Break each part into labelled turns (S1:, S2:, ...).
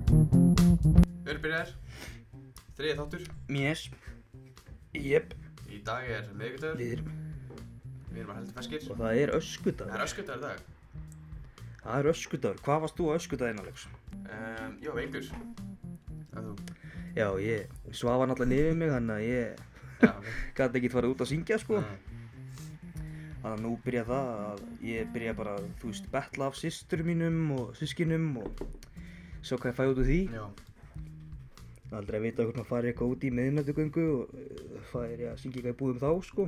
S1: Við erum byrjaðir, þriðið þáttur,
S2: Mér Jep,
S1: í dag er miðvikudagur,
S2: við erum
S1: við erum að heldur feskir,
S2: Og það er
S1: það er
S2: öskudagur
S1: öskutagur í dag.
S2: Það er öskudagur, hvað varst þú á öskudaginn Alex?
S1: Um, jó, veikur, að þú,
S2: Já, ég svafa náttúrulega niður mig þannig að ég
S1: já, ok,
S2: gæti ekki farið út að syngja sko
S1: Nei.
S2: Þannig að nú byrja það að ég byrja bara, þú veist, betla af systur mínum og sískinum og svo hvað ég fæ út úr því
S1: já,
S2: Aldrei að vita hvort maður farið eitthvað út í miðnættugöngu og uh, farið ég að syngja eitthvað í búðum þá sko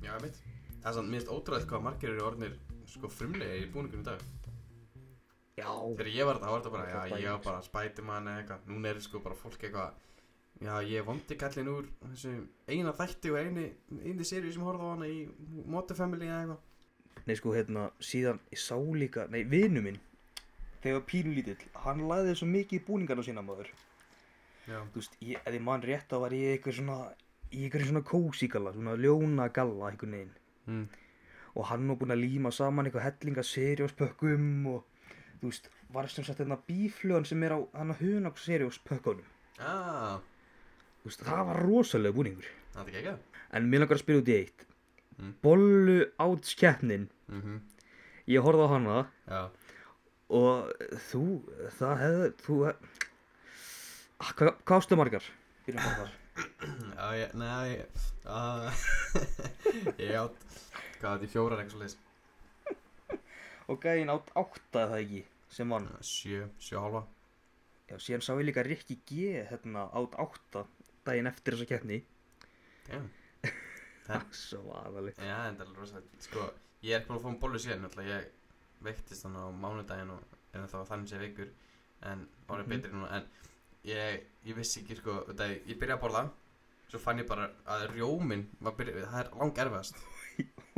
S1: já, ég veit. Það er samt, mér finnst ótrúlega hvað margir eru orðnir sko frumlegir í búningunum í dag.
S2: Já
S1: Þegar ég var þetta, þá var þetta bara,
S2: Það
S1: já, ég
S2: er
S1: var
S2: bæjings.
S1: bara Spiderman eða eitthvað. Núna er sko bara fólk eitthvað, já, ég vondi kallin úr þessu eina þætti og eini, eini seríu sem horfði á hana í Motor Family eða eitthvað.
S2: Nei sko hérna, síðan ég sá líka, nei vinu minn, þegar pínulítill, hann lagði svo mikið í búningarna sína maður.
S1: Já,
S2: Þú veist, ég, ef ég man rétt þá var ég eitthvað svona, í eitthvað svona kósíkalla, svona ljónagalla einhvern veginn.
S1: mm.
S2: Og hann var búinn að líma saman eitthvað hellinga serjóspökkum og þú veist, var sem sagt hérna bíflugan sem er á hann að hunag serjóspökkunum.
S1: ah,
S2: Þú veist, það var rosalega búningur.
S1: það er ekki ekki
S2: En mér langar að spyrja út í eitt.
S1: Mm.
S2: Bollu átskeppnin,
S1: Mhm.
S2: ég horfði á hana.
S1: Já,
S2: Og þú, það hefði, þú hefði, hvað hva ástu margar? Byrjum bara þar.
S1: já, ég, nei, ég, uh, ég átt, hvað þetta í fjórar eitthvað svolítið,
S2: Og gæðin átt átta eða ekki, sem vann.
S1: sjö, sjö og hálfa,
S2: Já, síðan sá ég líka Rikki G, hérna, átt átta daginn eftir þessa keppni.
S1: damn.
S2: Það er svo aðalega.
S1: Já, en það er alveg rosalegt, sko, ég er ekki búin að fá um bollu síðan, náttúrulega ég veiktist þannig á mánudaginn og er þá þannig sé veikur, en orðið
S2: Mhm.
S1: betri núna, en ég, ég vissi ekki, sko, þetta, er- ég byrjaði að borða, svo fann ég bara að rjóminn, var byrja, það er lang erfiðast,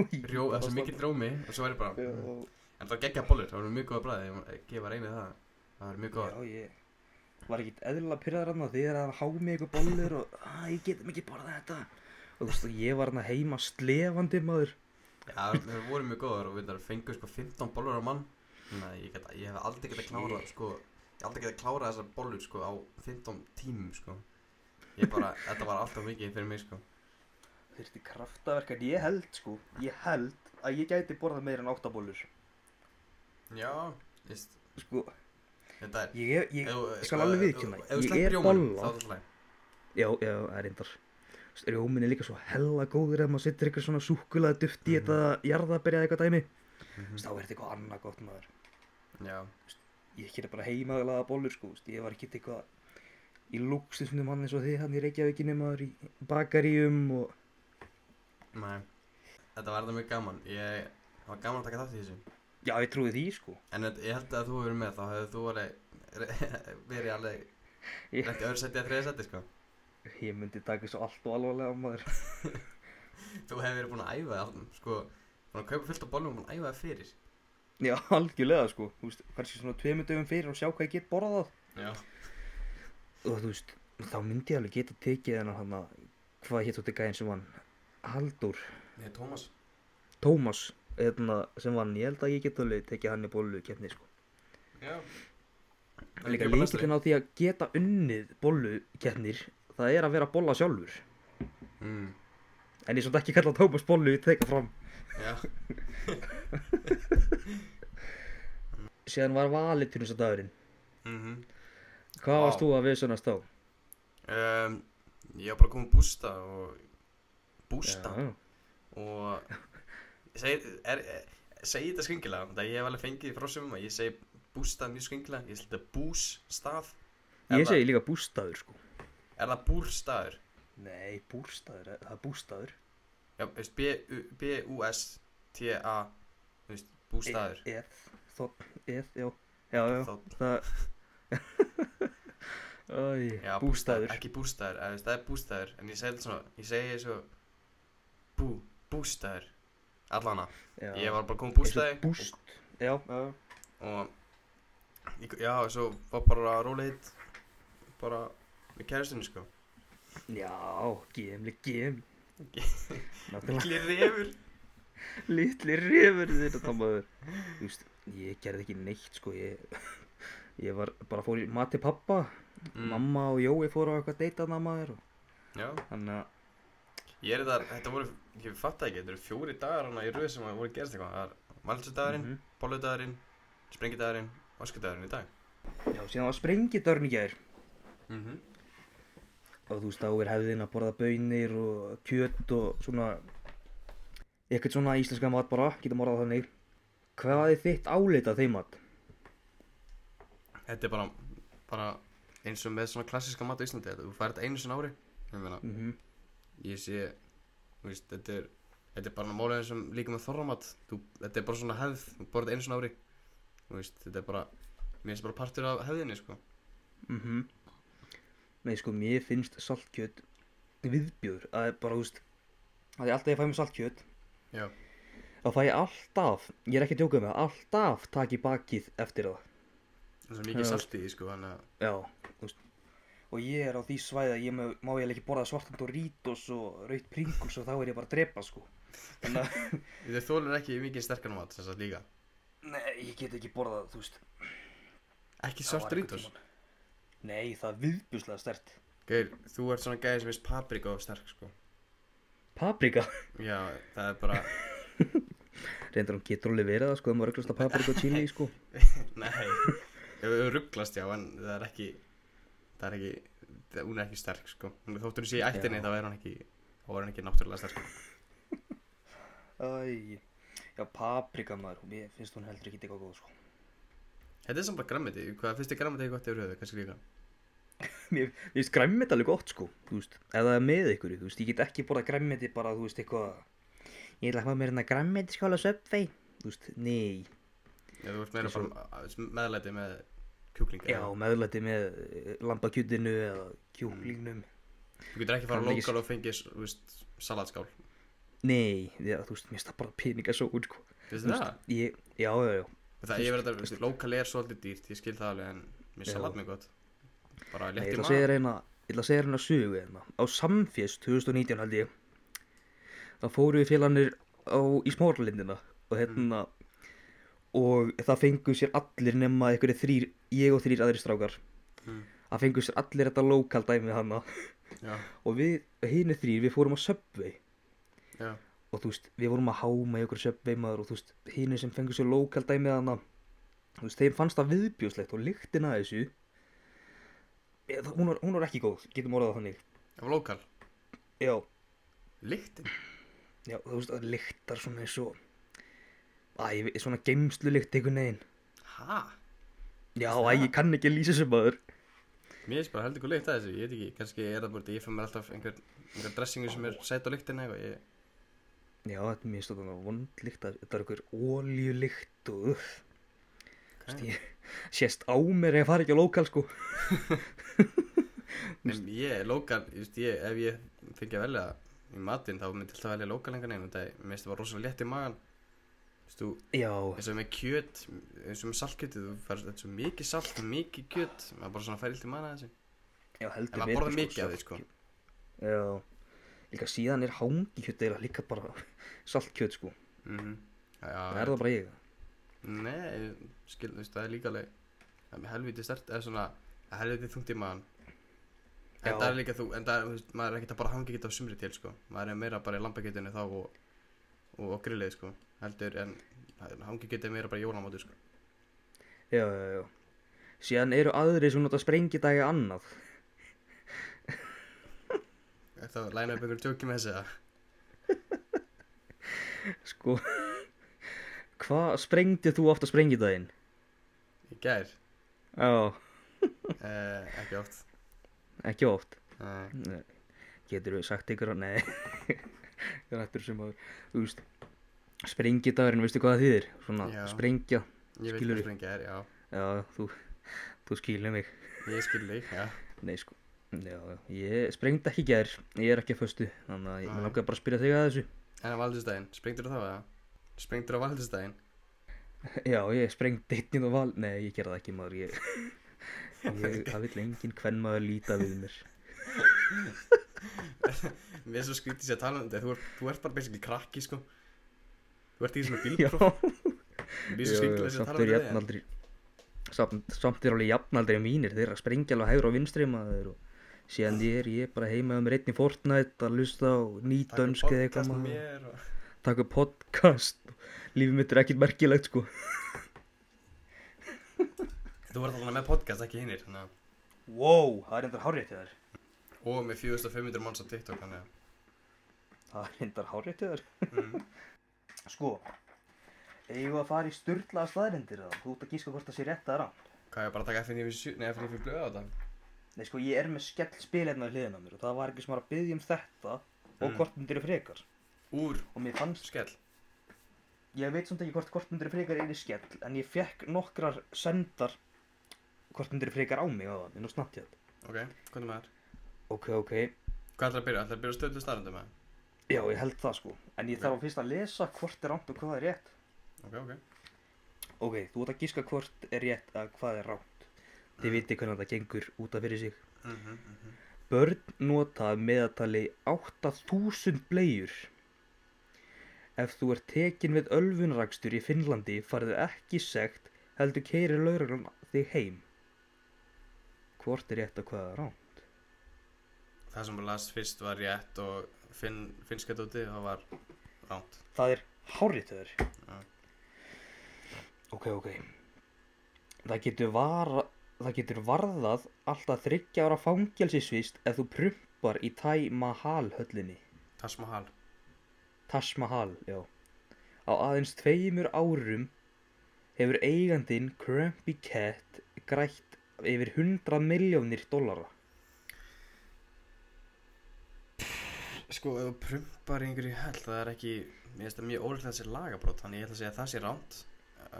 S1: Rjó, það er svo mikill rjómi, og svo er ég bara,
S2: Já,
S1: en það geggja bollur, það voru mjög góða bræði, ég má- gefa reynið það, það voru mjög góða,
S2: ég var ekkert eðlilega pyrraður hann því að hann há mig ykkur bollur og að ég getum ekki borðað þetta. Og þú veist, og ég var hann heima slefandi maður.
S1: Já, þeir voru mjög góðar og við þar fengum sko 15 bollur á mann Þannig að ég, geta, ég hef aldrei getað klárað sko Ég hef aldrei getað klárað þessar bollur sko á 15 tímum sko Ég bara, þetta var alltaf mikið fyrir mig sko
S2: Þurfti kraftaverk en ég held sko, ég held að ég gæti borðað meira en átta bollur.
S1: Já, veist,
S2: Sko,
S1: þetta er
S2: ég, ég,
S1: ef
S2: ég
S1: þú-
S2: skal
S1: sko,
S2: alveg
S1: ef-
S2: viðkynna,
S1: ef þú
S2: ég
S1: sleppir
S2: er
S1: rjómanum,
S2: bolla.
S1: Þá er það slæm
S2: Já, já, það er reyndar. Þú veist, Rjóminn er líka svo hella góður ef maður setur eitthvað svona súkulaði duft í
S1: Mhm.
S2: þetta jarðaberja eitthvað dæmi. Þú veist, Þá er þetta eitthvað annað gott maður.
S1: Já,
S2: Ég gerði bara heimaðalaða bollur sko, þú veist, ég var ekkert eitthvað í lúkstisnum mann eins og þið hann í Reykjavíkinni maður í bakaríum og...
S1: næ Þetta var þetta mjög gaman Ég, það var gaman að taka þátt í þessu
S2: Já, ég trúi því sko.
S1: En þetta- ég held að þú hefur verið með, þá hefur þú alveg verið alveg
S2: Ég-
S1: Þetta öðru seti að þriða seti sko
S2: Ég myndi taka þessu allt og alvarlega maður.
S1: Þú hefur verið búin að æfa það, sko, búin að kaupa fullt af bollum og búin að æfa það fyrir.
S2: Já, algjörlega sko. Þú veist, kannski svona tveimur dögum fyrir og sjá hvað ég get borðað.
S1: Já.
S2: og þú veist, þá myndi ég alveg geta tekið hennar hann að, hvað hétt þetta gæðin sem vann? Haldur,
S1: Ég er Tómas.
S2: Tómas, hérna, sem vann, ég held að ég geta alveg tekið hann í bollu keppni, sko.
S1: Já.
S2: Líka leikillin á því að geta unnið bollu keppnir, það er að vera að bolla sjálfur.
S1: Mm,
S2: En ég svolítið ekki kalla Tómas bollu, ég teka fram.
S1: já.
S2: Síðan var valið til þess að dagurinn.
S1: Mm
S2: Hvað
S1: Vá.
S2: varst þú að viðsönast á?
S1: um, ég var bara komið bústa og... Bústa?
S2: Já,
S1: Og... Ég segi, er, er, segi þetta skringilega, það ég hef alveg fengið frá sumum að ég segi bústa mjög skringilega, ég segi þetta bústað.
S2: Ég segi líka bústaður, sko.
S1: Er það búrstaður?
S2: Nei, bústaður, það er bústaður.
S1: Já, veist, B- B-U-S-T-A, þú veist, bústaður.
S2: E- Eð, þótt, eð, já. Já, já,
S1: Þá
S2: Það Æ,
S1: Já, bústaður,
S2: bústaður
S1: ekki bústaður, eða, þú veist, það er bústaður, en ég segi þetta svona, ég segi svo, bú, bústaður, allana,
S2: já.
S1: ég var bara komið
S2: Eins og
S1: bústaði
S2: Búst Já, já
S1: og, og, já, svo var bara rólið hitt, bara með kæristinu, sko,
S2: Já, gemli, gemli
S1: Ge-
S2: Náttúrulega
S1: klirði yfir,
S2: litli rifur þér þetta maður Þú veist, ég gerði ekki neitt sko Ég, Ég var bara fór í mat til pappa, mamma og Jói fóru á eitthvað deytaðna maður og
S1: Mm, Já,
S2: þannig að
S1: ég er þetta, þetta voru, ég fatt ekki, þetta eru fjóri dagar hana í röð sem að voru gerst eitthvað. Það er valsudagurinn, mm
S2: Mhm.
S1: -hmm. bolludagurinn, sprengidagurinn, öskudagurinn í dag.
S2: Já, síðan var sprengidörn í gær
S1: Mm
S2: Mhm.
S1: -hmm.
S2: og þú veist þá er hefðin að borða bönir og kjöt og svona eitthvað svona íslenska mat bara, getum orðað þannig Hvað er þitt áleit að þeim mat?
S1: Þetta er bara, bara eins og með svona klassiska mat á Íslandi, þetta, þú færð þetta einu sinna ári. Ég meina,
S2: Mm
S1: ég sé, þú veist, þetta er, þetta er bara málið sem líka með þorramat, þú, þetta er bara svona hefð, þú borðið einu sinna ári. Þú veist, þetta er bara, mér finnst bara partur af hefðinni, sko.
S2: Mhm. Nei, sko, mér finnst saltkjöt viðbjör. Það er bara, þú veist, að ég alltaf ég fæ mér saltkjöt,
S1: Já.
S2: þá fæ ég alltaf, ég er ekki að tjóka með það, alltaf takk í bakið eftir það.
S1: Það er svo mikið
S2: Já.
S1: salt í því, sko, þannig að,
S2: Já, þú veist. Og ég er á því svæði að ég má, má ég ekki borða svartan Doritos og raut Pringles og þá er ég bara að drepa, sko. Þannig að,
S1: þau þólur ekki mikið sterkan mat, þess að líka.
S2: nei, ég get ekki borðað, þú veist.
S1: Ekki
S2: það var
S1: svart
S2: einhvern
S1: rítos.
S2: tímann. Nei, það er viðbjuslega stert.
S1: Geir, þú ert svona gæði sem veist paprika og sterk, sko.
S2: Paprika.
S1: Já, það er bara,
S2: Reyndar hún getur alveg verið það, sko, það má reglast að paprika og chili, sko.
S1: Nei, ef rugglast já, en það er ekki, það er ekki, það, hún er ekki sterk, sko. Hún- Þótt hún sé í ættinni,
S2: Já.
S1: þá er hún ekki, þá er hún ekki náttúrulega sterk.
S2: Æ, já, paprika maður, mér finnst hún heldur ekki eitthvað góð, sko.
S1: Þetta er samt bara grammiti, hvað finnst þið grammiti gott yfir höfuð, kannski líka?
S2: Mér mér finnst græmmit alveg gott, sko, þú veist, ef það er með ykkur, þú veist, ég get ekki borða græmmiti bara, þú veist, eitthvað, ég ætla að hafa mér hérna græmmiti skála söpvei, þú veist, nei,
S1: Já, þú ert meira
S2: Eins og-
S1: bara að- meðlæti með kjúklinga.
S2: já, meðlæti með eh, lambakjötinu eða kjúklingnum,
S1: Þú getur ekki fara á
S2: Kann ekki-
S1: lokal og fengið, s- þú veist, salatskál.
S2: nei, já, þú veist, mér finnst það bara peningasóun, sko,
S1: Veistu
S2: Þú
S1: það?
S2: veist, ég, já, já, já,
S1: Það, ég verður þetta, veist, lokal er svolítið dýrt, ég skil það alveg, en mér
S2: Já.
S1: salat mér gott. Bara
S2: Nei,
S1: létt
S2: ég
S1: í
S2: ætla að segja
S1: maður.
S2: þér eina, ég ætla að segja þér eina sögu hérna. Á Samfjest 2019 held ég, þá fóru við félagarnir á, í smórlindina og hérna, og það fengu sér allir nema einhverju þrýr, ég og þrýr aðri strákar,
S1: Mm.
S2: það fengu sér allir þetta lokal dæmið hana
S1: Já,
S2: og við, hinu þrýr, við fórum á Subway
S1: já,
S2: og þú veist, við vorum að háma í okkur Subway maður og þú veist, hinu sem fengu sér lokal dæmið hana, þú veist, þeim fannst það viðbjóslegt og lyktin að þessu, eh, hún var, hún var ekki góð, getum orðað það þannig.
S1: af lokal.
S2: Já,
S1: Líktin.
S2: já, þú veist, það lyktar svona eins og Æ, ég veit, svona geimslu lykt einhvern veginn
S1: Hæ?
S2: Já, æ, ég kann ekki að lýsa þessu maður
S1: Mér finnst bara heldur hvað lykt að þessu, ég veit ekki, kannski er það bara þetta, ég fann mér alltaf einhver, einhver dressingu sem er sætt á lyktinni hérna eitthvað, ég,
S2: Já, þetta er mjög stóðan að vond lykt að- Þetta er einhver ólíulykt og uff, þú veist, ég Sést á mér ef ég fari ekki á lokal, sko
S1: en ég er lokal, ég veist, ég, ef ég fengi að velja í matinn, þá myndi ég alltaf velja lokal engan einu, það er, mér finnst það bara rosalega létt í magan, þú veist, þú,
S2: Já,
S1: eins og með kjöt, eins og með saltkjötið, þú færst, þetta er svo mikið salt, mikið kjöt, maður bara svona fær illt í magan að þessu,
S2: já, heldur
S1: en maður
S2: betur,
S1: borðar mikið af því,
S2: saltkjöt.
S1: sko,
S2: Já, líka síðan er hangikjöt eða líka bara saltkjöt, sko
S1: mhm,
S2: Það
S1: já,
S2: er það bara ég
S1: Nei, skil, þú veist, það er líka alveg það er með helviti stert, eða svona helviti þungt í maðan
S2: Já.
S1: en það er líka þú, en það er, þú veist, maður er ekkert að bara hangi ekkert á sumri til, sko maður er meira bara í lambakjötinu þá og, og, og grillið, sko, heldur en hangi getið meira bara í jólamátu, sko
S2: Já, já, já Síðan eru aðri sem nota sprengidagi annað
S1: Er það að læna upp einhverjum tjóki með þessi eða?
S2: Sko, hvað sprengdið þú oft á sprengidaginn?
S1: Í gær?
S2: Já,
S1: Eh, ekki oft Eh,
S2: ekki oft.
S1: Nei,
S2: Nei. Getur við sagt ykkur að, nei, það er eftir sem að, þú veist, sprengidagurinn, veistu hvað það þýðir? Svona,
S1: Já.
S2: sprengja,
S1: Ég veit
S2: Skilurðu?
S1: hvað springi er, já
S2: já, þú, þú skilur mig.
S1: Ég skil þig, já
S2: Nei, sko, já, já, ég sprengdi ekki í gær, ég er ekki að föstu, þannig að ég
S1: Nei.
S2: mér langaði bara að spyrja þig að þessu.
S1: En á valdistæðin, springdur þá eða? Springdur á valdistæðin?
S2: Já, ég sprengdi einninn og val, nei, ég gerði það ekki maður, ég, ég, það vil enginn hvern maður líta við mér.
S1: Mér er svo skrítið sér að tala um þetta, þú, er, þú ert bara basically krakki sko Þú ert í svona
S2: Já.
S1: bílpróf, mér er svo skrítið sér að
S2: samt
S1: tala um
S2: er
S1: þetta
S2: jafnaldri samt, samt er alveg jafnaldri mínir þeir eru að sprengja alveg hægur og vinstri maður og síðan
S1: Ah.
S2: ég er ég er bara heima um reitn í Fortnite að lusta á nýtönsk eða eitthvað
S1: maður.
S2: maður
S1: Mér og...
S2: taka upp podcast lífið mitt er ekkert merkilegt sko
S1: Þú verður alltaf með podcast, ekki hinnir. Að...
S2: wow, það er endur hárið til þér
S1: Og með 4500 manns á TikTok, þannig að.
S2: það er endur hárið til þér
S1: Mm.
S2: sko eigum við að fara í styrlaða staðrindir þá þú ert að gíska hvort það sé rétt að rátt
S1: Hvað ég bara að taka FNF7, nei FNF blöða á þetta?
S2: Nei, sko, ég er með skell spil hérna við hliðina á mér og það var ekki sem var að byggja um þetta og
S1: Mm.
S2: hvort myndir eru frekar.
S1: Úr
S2: Og mér fannst,
S1: skell.
S2: ég veit samt ekki hvort hvort myndir eru frekar er í skell, en ég fekk nokkrar sendar hvort myndir eru frekar á mig á það, inn á Snapchat.
S1: Ok, hvernig maður?
S2: Ok, ok.
S1: Hvað ætlar að byrja? Ætlar að byrja stöðlu starrendum eða?
S2: Já, ég held það, sko. En ég
S1: Ok.
S2: þarf fyrst að lesa hvort er rámt og hvað er rétt.
S1: Ok, ok.
S2: Ok, þú ert að gíska hvort er rétt að hvað er rámt. Þið viti hvernig það gengur út af fyrir sig.
S1: Mm -hmm, mm -hmm.
S2: Börn nota að meðatali 8000 bleiur. Ef þú ert tekin við ölfunrakstur í Finnlandi farðu ekki sekt heldur keiri lauruglan þig heim. Hvort er rétt og hvað er rán?
S1: Það sem maður las fyrst var rétt og finn, finnska dóti, það var ránt.
S2: Það er hárið þau
S1: Já.
S2: þar. Ok, ok. Það getur, vara, það getur varðað alltaf þryggja ára fangelsisvist ef þú prumpar í Taj Mahal höllinni.
S1: Taj Mahal.
S2: Taj Mahal, já. Á aðeins tveimur árum hefur eigandin Crumpy Cat grætt yfir 100 miljónir dollara.
S1: Sko, ef þú prumpar í einhverju hell, það er ekki, mér finnst það mjög ólíklega þessi lagabrót, þannig ég ætla að segja að það sé ránt.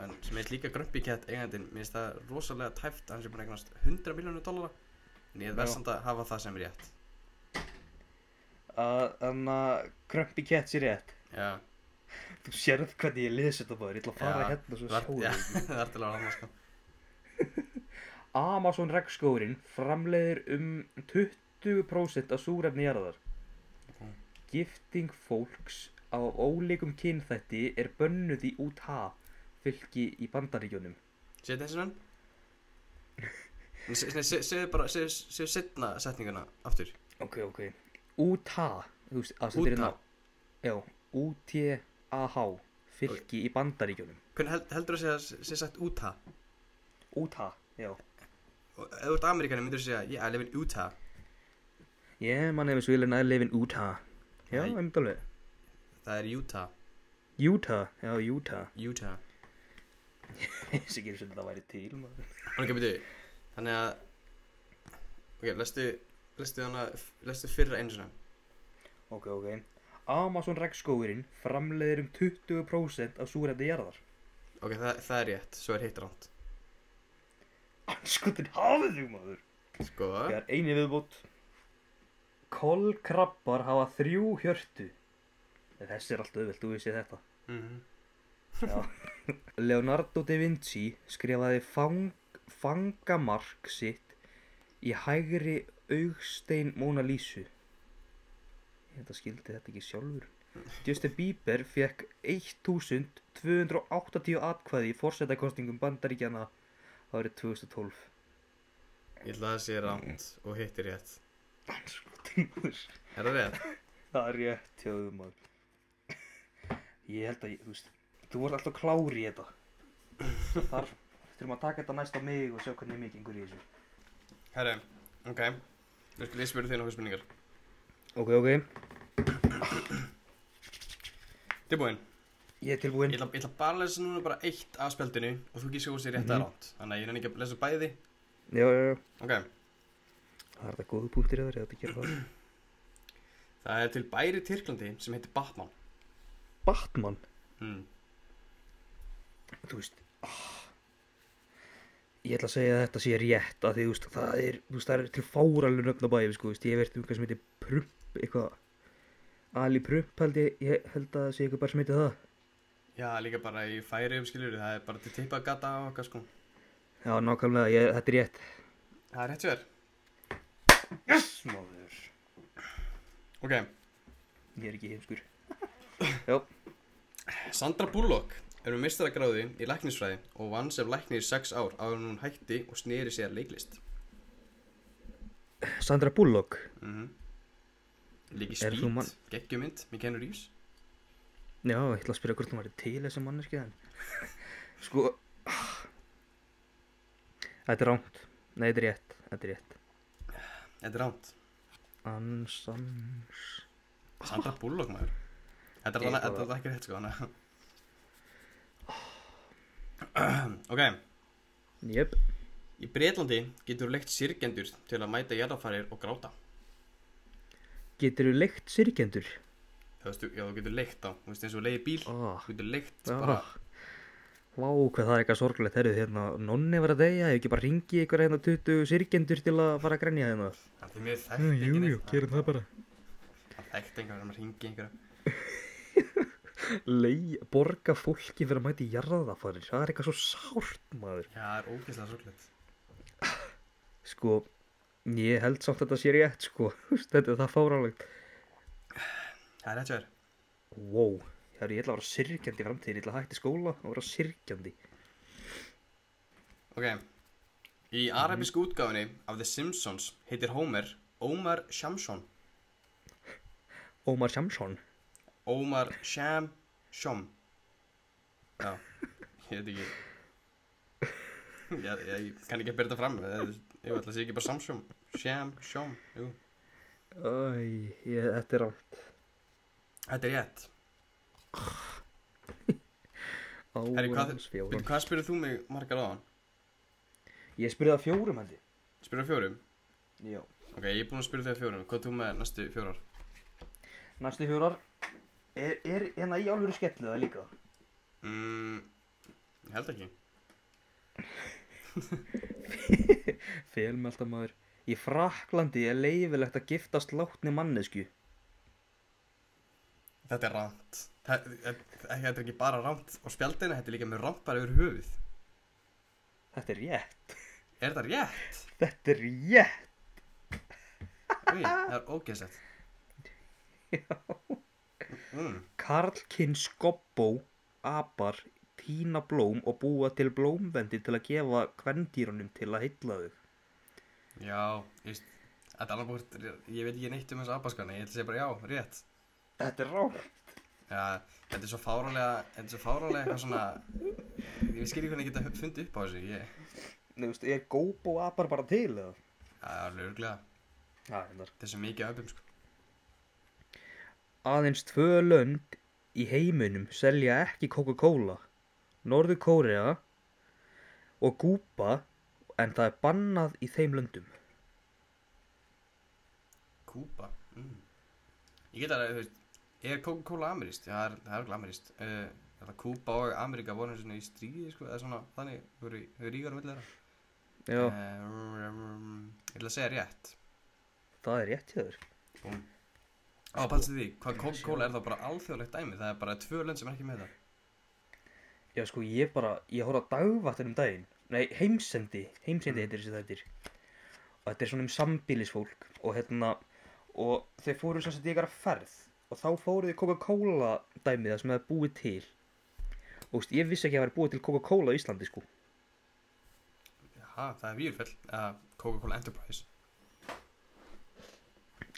S1: En sem ég líka Grumpy Cat eigandinn, mér finnst það rosalega tæft, að hann sé búin að eignast 100 miljónu dólara. En ég er
S2: Já.
S1: verðsamt að hafa það sem rétt.
S2: Að- Þannig að Crumpy Cat sé rétt.
S1: Já,
S2: Þú sérð hvernig ég lesi þetta bara, ég ætla að fara
S1: Já,
S2: hérna svo
S1: það
S2: sjáum.
S1: já,
S2: Ja.
S1: það er til að rána, sko.
S2: Amazon regnskóurinn framleiðir um 20% af súrefni jarðar.
S1: Ok.
S2: Gifting fólks á ólíkum kynþætti er bönnuð í Utah fylki í bandaríkjónum.
S1: Segðu þessi raun? Segðu bara, segðu segðu setna setninguna aftur.
S2: Ok, ok. Utah, þú veist, að þetta
S1: Utah.
S2: er hérna, já, U-T-A-H, fylki í bandaríkjunum.
S1: Hvernig held, heldur þú að segja, segja sagt Utah?
S2: Utah, já.
S1: Og ef þú ert Ameríkani myndur þú segja, yeah, I live in Utah.
S2: Yeah, my name is Willen, I live in Utah. Já,
S1: Nei.
S2: einmitt alveg.
S1: Það er Utah,
S2: Utah, já, Utah.
S1: Utah.
S2: Ég sé ekki eins og þetta væri til, maður.
S1: Ok, byrju, þannig að, ok, lestu, lestu hana, lestu fyrra einu svona.
S2: Ok, ok. Amazon regnskóurinn framleiðir um 20% af súrefni jarðar.
S1: Ok, það, það er rétt, svo er hitt ránt.
S2: Anskutin hafið þú, maður.
S1: Sko,
S2: Það er eini viðbútt. Kolkrabbar hafa þrjú hjörtu. Þessi er alltaf auðvelt, þú veist ég þetta.
S1: mm
S2: Já. Leonardo da Vinci skrifaði fang, fangamark sitt í hægri augstein Mona Lisu. Ég held að skildi þetta ekki sjálfur. Justin Bieber fekk 1280 atkvæði í fórsetakostingum bandaríkjana árið 2012.
S1: ég ætla að það sé ránt og hitt er rétt.
S2: Anskotingur.
S1: Er það rétt?
S2: Það er rétt hjá þau maður. Ég held að, ég, þú veist, þú voru alltaf klári í þetta. Það þarf, þurfum að taka þetta næst á mig og sjá hvernig mikið yngur í þessu.
S1: Herri, ok, nú skulle ég spyrja þig nokkuð spurningar.
S2: Ok, ok.
S1: Tilbúin?
S2: Ég er tilbúinn.
S1: Ég ætla, ég ætla bara að lesa núna bara eitt af spjaldinu og þú gíska hvort sé rétt eða
S2: Mhm.
S1: ránt. Þannig að ég nenni ekki að lesa bæði.
S2: Já, já, já.
S1: Ok,
S2: Það er þetta góðu punktir eða þetta gera það.
S1: það er til bæri í Tyrklandi sem heitir Batman.
S2: Batman,
S1: Mm.
S2: þú veist, ah. ég ætla að segja að þetta sé rétt að því, þú veist, það er, þú veist, það er til fáralur nöfn á bæði, sko, þú veist, ég hef verið um hvað sem heitir Prump, eitthvað, Ali Prump held ég, ég held að það sé eitthvað bara sem heitir það.
S1: Já, líka bara í færiðum skiljur, það er bara til tippagata og okkar sko.
S2: Já, nákvæmlega, ég, þetta er rétt.
S1: Það er rétt sér.
S2: Yes, maður.
S1: Ok,
S2: Ég er ekki heimskur. Já,
S1: Sandra Bullock Er hún mistaragráði í læknisfræði og vann sem læknir í sex ár áður en hún hætti og sneri sér að leiklist.
S2: Sandra Bullock
S1: Mm Líki
S2: Er þú
S1: spýt,
S2: mann-
S1: geggjumynd, mér kennur ís.
S2: Já, ég ætla að spyrja hvort hún var til þessi manneski en Sko Þetta er rámt Nei, þetta er rétt Þetta er rétt
S1: Þetta er ránt.
S2: Ansans
S1: Sandra Bullock maður. Þetta er
S2: Ég
S1: þarna-
S2: bara-
S1: þetta er ekki rétt sko, þannig að... ok,
S2: Jöp
S1: í Breitlandi getur þú leikt sirgendur til að mæta jarðafarir og gráta.
S2: Geturðu leikt syrkjendur?
S1: Þú veist, þú- já, þú getur leikt þá, þú veist eins og leiði bíl,
S2: Ah,
S1: þú getur leikt
S2: Já.
S1: bara...
S2: Vá, hvað það er eitthvað sorglegt Herru, hérna, nonni var að deyja Ef ekki bara ringi ykkur hérna 20 syrkjendur til að fara að grenja hérna
S1: Það er mér þekkt ekki
S2: bara
S1: Það þekkt einhvern veginn að ringi einhverja.
S2: Lei, borga fólki fyrir að mæti jarðafarir Það er eitthvað svo sárt, maður
S1: Já, það er ógeðslega sorglegt.
S2: Sko, ég held samt að þetta sé rétt, sko Þetta er það fáránlegt
S1: Það er rétt sér.
S2: Wow, það eru ég ætla að vera syrkjandi í framtíðin, ég ætla að hætti skóla og vera syrkjandi.
S1: Ok, í arabísku útgáfinni af The Simpsons heitir Homer Omar Shamson.
S2: Ómar Shamsson.
S1: Omar Shamshom. Já, ég veit ekki. Já, já, ég kann ekki að byrja þetta fram. Það er- Ég ætla að sé ekki bara Samshom. Shamshom, jú.
S2: Æ, ég, þetta er á.
S1: Þetta er rétt. Herri, hvað-
S2: Árans
S1: Veitu,
S2: fjórum.
S1: hvað spyrir þú mig margar áðan?
S2: Ég spurði það fjórum hendi.
S1: Spyrir fjórum?
S2: Já.
S1: Ok, ég er búinn að spyrir þegar fjórum. Hvað þú með næstu fjórar?
S2: Næstu fjórar, er, er hérna í alvöru skellu það líka?
S1: Mm, ég held ekki.
S2: Fel með alltaf maður. Í Fraklandi er leifilegt að giftast látni mannesku.
S1: Þetta er rámt Þetta er ekki bara rámt á spjaldina Þetta er líka með rámt bara yfir höfuð
S2: Þetta er rétt.
S1: Er þetta rétt?
S2: Þetta er rétt.
S1: Úi, það er ógeðsett Já mm,
S2: Karlkinn skobbó, apar, tína blóm og búa til blómvendi til að gefa kvendýrunum til að heilla þau.
S1: Já, ég veist Þetta er alveg búið, ég veit ekki neitt um þessa abaskana Ég ætla að segja bara já, rétt
S2: Þetta er rátt.
S1: Já, þetta er svo fáralega Þetta er svo fáralega eitthvað svona Ég skil ekki hvernig ég geta fundið upp á þessu Ég,
S2: Nei, þú veist, er Góbo apar bara til eða?
S1: það er alveg örglega
S2: Já, hendar.
S1: Þetta er svo mikið af öpum sko
S2: Aðeins tvö lönd í heiminum selja ekki Coca-Cola. Norður Kórea og Gúba, en það er bannað í þeim löndum.
S1: Kúpa mm. Ég get að, þú veist, er Coca-Cola ameríst? Já, það er, það er ekki ameríst uh, Það Kúpa og Ameríka voru svona í stríði, sko, eða svona, þannig, þau voru þau voru ríkar á milli þeirra
S2: Já,
S1: Eh, um, Ég ætla að segja rétt
S2: það er rétt hjá þér.
S1: Búm Á, pælstu því, hvað Coca-Cola er þá bara alþjóðlegt dæmi Það er bara tvö lönd sem er ekki með það
S2: Já, sko, ég bara, ég horf á dagvattin um daginn. Nei, heimsendi, heimsendi heitir þessi þættir. Og þetta er svona um sambýlisfólk og hérna, og þau fóru sem sagt í eitthvað ferð og þá fóru þau í Coca-Cola dæmið það sem það er búið til. Og þú veist, ég vissi ekki að það væri búið til Coca-Cola á Íslandi, sko.
S1: Jaha, það er výrfell uh, Coca-Cola Enterprise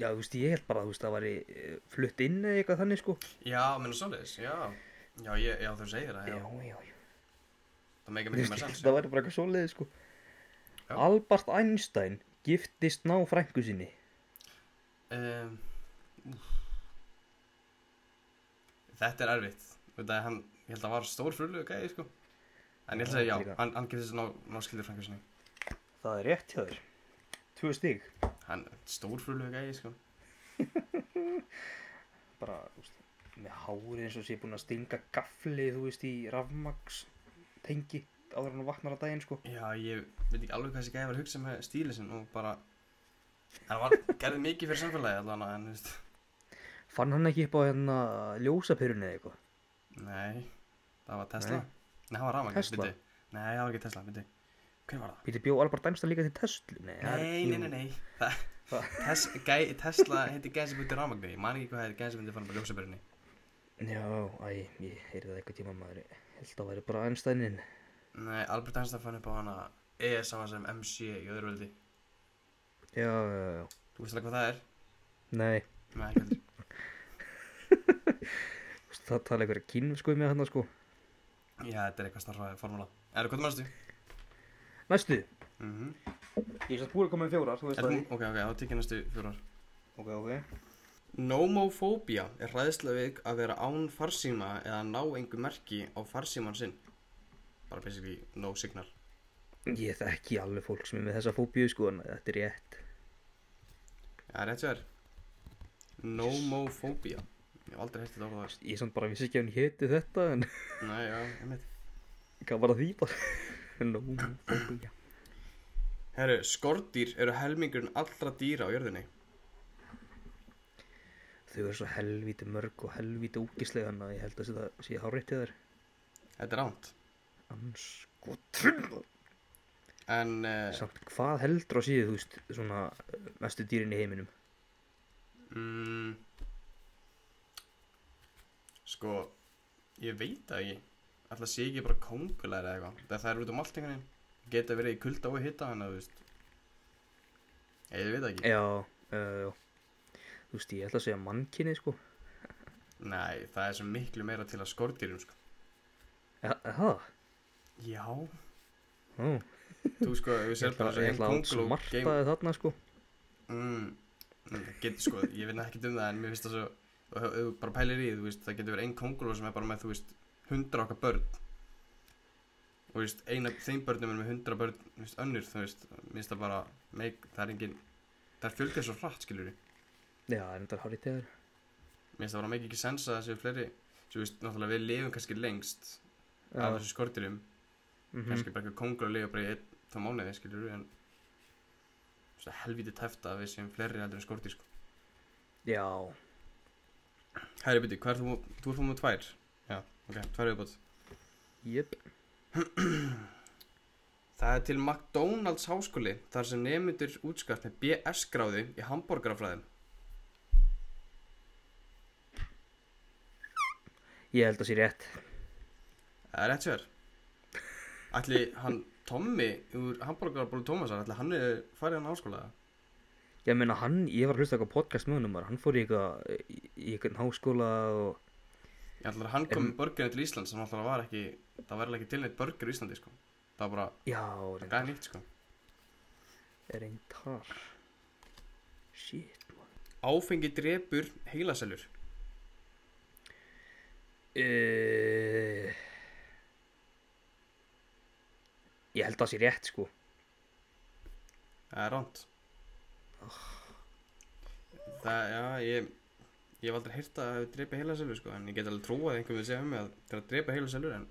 S2: Já, þú veist, ég held bara, þú veist, það væri eh, flutt inn eða eitthvað þannig, sko.
S1: Já, menna svoleiðis, já Já, ég, já þú segir það, já
S2: já, já.
S1: Það meika mikið
S2: Þú veist,
S1: með
S2: ég held
S1: sens
S2: að það væri bara eitthvað svoleiði, sko.
S1: Já.
S2: Albert Einstein giftist ná frængu sinni.
S1: um, Þetta er erfitt Þetta er hann, ég held að var stór frullu gæði sko En ég held að segja já,
S2: Líka.
S1: hann, hann getur þess að ná, ná skildur frængur sinni
S2: Það er rétt hjá þér. Tvö stig.
S1: Hann stór frullu gæði sko
S2: Bara, þú veist, með hárið eins og sé búin að stinga gafli, þú veist, í rafmags tengi áður hann vaknar á daginn, sko.
S1: Já, ég veit ekki alveg hvað þessi gæði var að hugsa með stíli sinn og bara Hann var, gerði mikið fyrir samfélagi allan en þú veist
S2: Fann hann ekki upp á hérna ljósapyrunni eða eitthvað?
S1: Nei, það var Tesla Nei, það var Rama
S2: Tesla?
S1: Nei, það var ekki Tesla, veit Hver var það?
S2: Býtti bjó Albert Einstein líka til Tesla? Nei, það er-
S1: Nei,
S2: jú.
S1: nei, nei, nei Það-
S2: Hva?
S1: Tes, gæ, Tesla heitir gæði sem búti rámagni Ég man ekki hvað heitir gæði sem búti fann bara ljósabyrjunni
S2: Já, æ, ég heyrði það eitthvað tíma maður held að væri bara Einsteinin
S1: Nei, Albert Einstein fann upp á hana E er sama sem MC í öðruvöldi
S2: já, já, já,
S1: Þú veist alveg hvað það er?
S2: nei
S1: Nei, ekki heldur
S2: þú veist, það tala einhverja kínversku með hann sko
S1: Já, þetta er eitthvað starfaði formúla Er það hvað það mannstu?
S2: næstu,
S1: Mm
S2: ég er satt búin að koma með fjórar þú
S1: Er það Ok, ok, þá tekið næstu fjórar
S2: ok, ok,
S1: Nomofóbía er hræðsla við að vera án farsíma eða ná engu merki á farsíman sinn Bara basically no signal
S2: ég þekki alveg fólk sem er með þessa fóbíu sko en þetta er rétt
S1: Já, rétt sér Nomofóbía Ég hef aldrei hægt þetta orða þess
S2: ég samt bara vissi ekki að hún héti þetta en
S1: Nei, já, ég mitt
S2: hvað var að því bara nómofóbía
S1: Herru, skordýr eru helmingurinn allra dýra á jörðinni
S2: þau eru svo helvíti mörg og helvíti ógislega hann að ég held að þetta sé hárétt til þær
S1: Þetta er ránt
S2: anskotrun
S1: En uh,
S2: samt hvað heldur á síðu þú veist svona eh, mestu dýrin í heiminum
S1: mm, Sko Ég veit það ekki Alltaf sé ekki bara kóngulæri eða eitthvað Það það er út um allt einhvern veginn Geta verið í kulda og hitta hann að þú veist Ég, ég veit það ekki
S2: já, uh, þú veist ég held að segja mannkinni sko
S1: Nei, það er svo miklu meira til að skordýrum sko
S2: ja, það,
S1: Já
S2: E, ó
S1: Þú sko, við
S2: ég
S1: sér
S2: ætla
S1: bara
S2: ég
S1: einn
S2: ætla að
S1: kónguló geim-
S2: smartaði þarna sko
S1: mm, mm, það getur sko, ég veit ekki um það en mér finnst það svo, og ef- ef þú bara pælir í því, þú veist, það getur verið einn konguló sem er bara með, þú veist, hundra okkar börn og þú veist, eina af þeim börnum er með hundra börn, þú veist, önnur þú veist, mér finnst það bara, meik, það er engin það er fjölgað svo hratt, skilur við
S2: já, en þetta er hárétt til þær
S1: mér finnst það bara meik ekki sensa að séu fleiri svo, þú veist, náttúrulega við lifum kannski lengst af
S2: já,
S1: þessu skortirum,
S2: Uh, mhm,
S1: kannski bara eitthvað konguló lifa bara í einn, þá mánuði, skilur en þú veist, helvítið tæft að við séum fleiri heldur en skortir, sko
S2: já,
S1: Herri, byrju, hvað er þú, þú ert fór með tvær? Já, ok, tvær viðbót.
S2: jöp
S1: Það er til McDonalds háskóli þar sem nemyndur útskart með BS-gráði í hambúrgarafræðum.
S2: ég held að sé rétt
S1: Það er rétt sér. Ætli hann Tommy úr hambúrgarabólu Tómasar, ætli hann er farið hann háskóla? eða?
S2: Ég meina hann, ég var að hlusta eitthvað podcast með honum maður, hann fór í eitthvað, í eitthvað háskóla og,
S1: Ég ætla að hann kom með börgurinn til Íslands sem alltaf var ekki, það var ekki tilneitt börgur í Íslandi, sko. Það var bara,
S2: já,
S1: það er nýtt, sko.
S2: reyndar, shit, maður.
S1: Áfengi drepur heilaselur.
S2: Uh, ég held að það sé rétt, sko.
S1: Það er ránt. Það, já, ég, ég hef aldrei heyrt að það hefur dreipið heila selur, sko, en ég get alveg trúað að einhver við segja um mig að það er að dreipa heila selur, en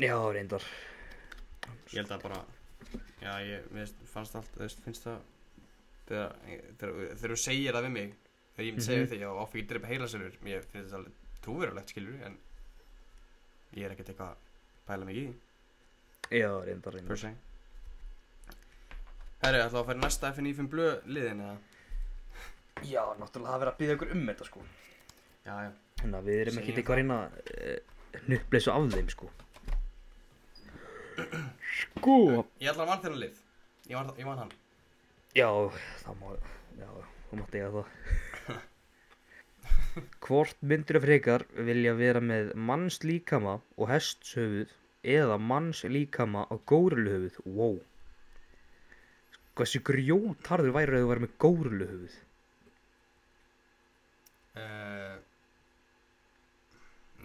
S2: Já, reyndar,
S1: ég held að bara, já, ég mér finnst- fannst allt, þú veist, finnst það, þegar, þegar, þegar þú segir það við mig, þegar ég myndi segja við þig, já, áfengi dreipa heila selur, mér finnst það alveg trúverulegt, skilur, en ég er ekkert eitthvað að pæla mig í því.
S2: já, reyndar, reyndar.
S1: Per se Herri, ætlaðu að fara í næsta FNÍ5 blöð liðin eða?
S2: Já, náttúrulega það verið að byggja ykkur um þetta, sko.
S1: Já, já
S2: Þannig að við erum
S1: Segjum
S2: ekkert eitthvað að reyna að uh, nuppleysu af þeim, sko. Sko.
S1: Ég ætla að vann þennan lið Ég vann, ég vann hann
S2: Já, það má, já, þú mátt eiga það. Hvort myndur af frekar vilja vera með manns líkama og hestshöfuð eða manns líkama og góruluhöfuð? Wow. Hversu grjótarður væri að þú væri með góruluhöfuð?
S1: uh,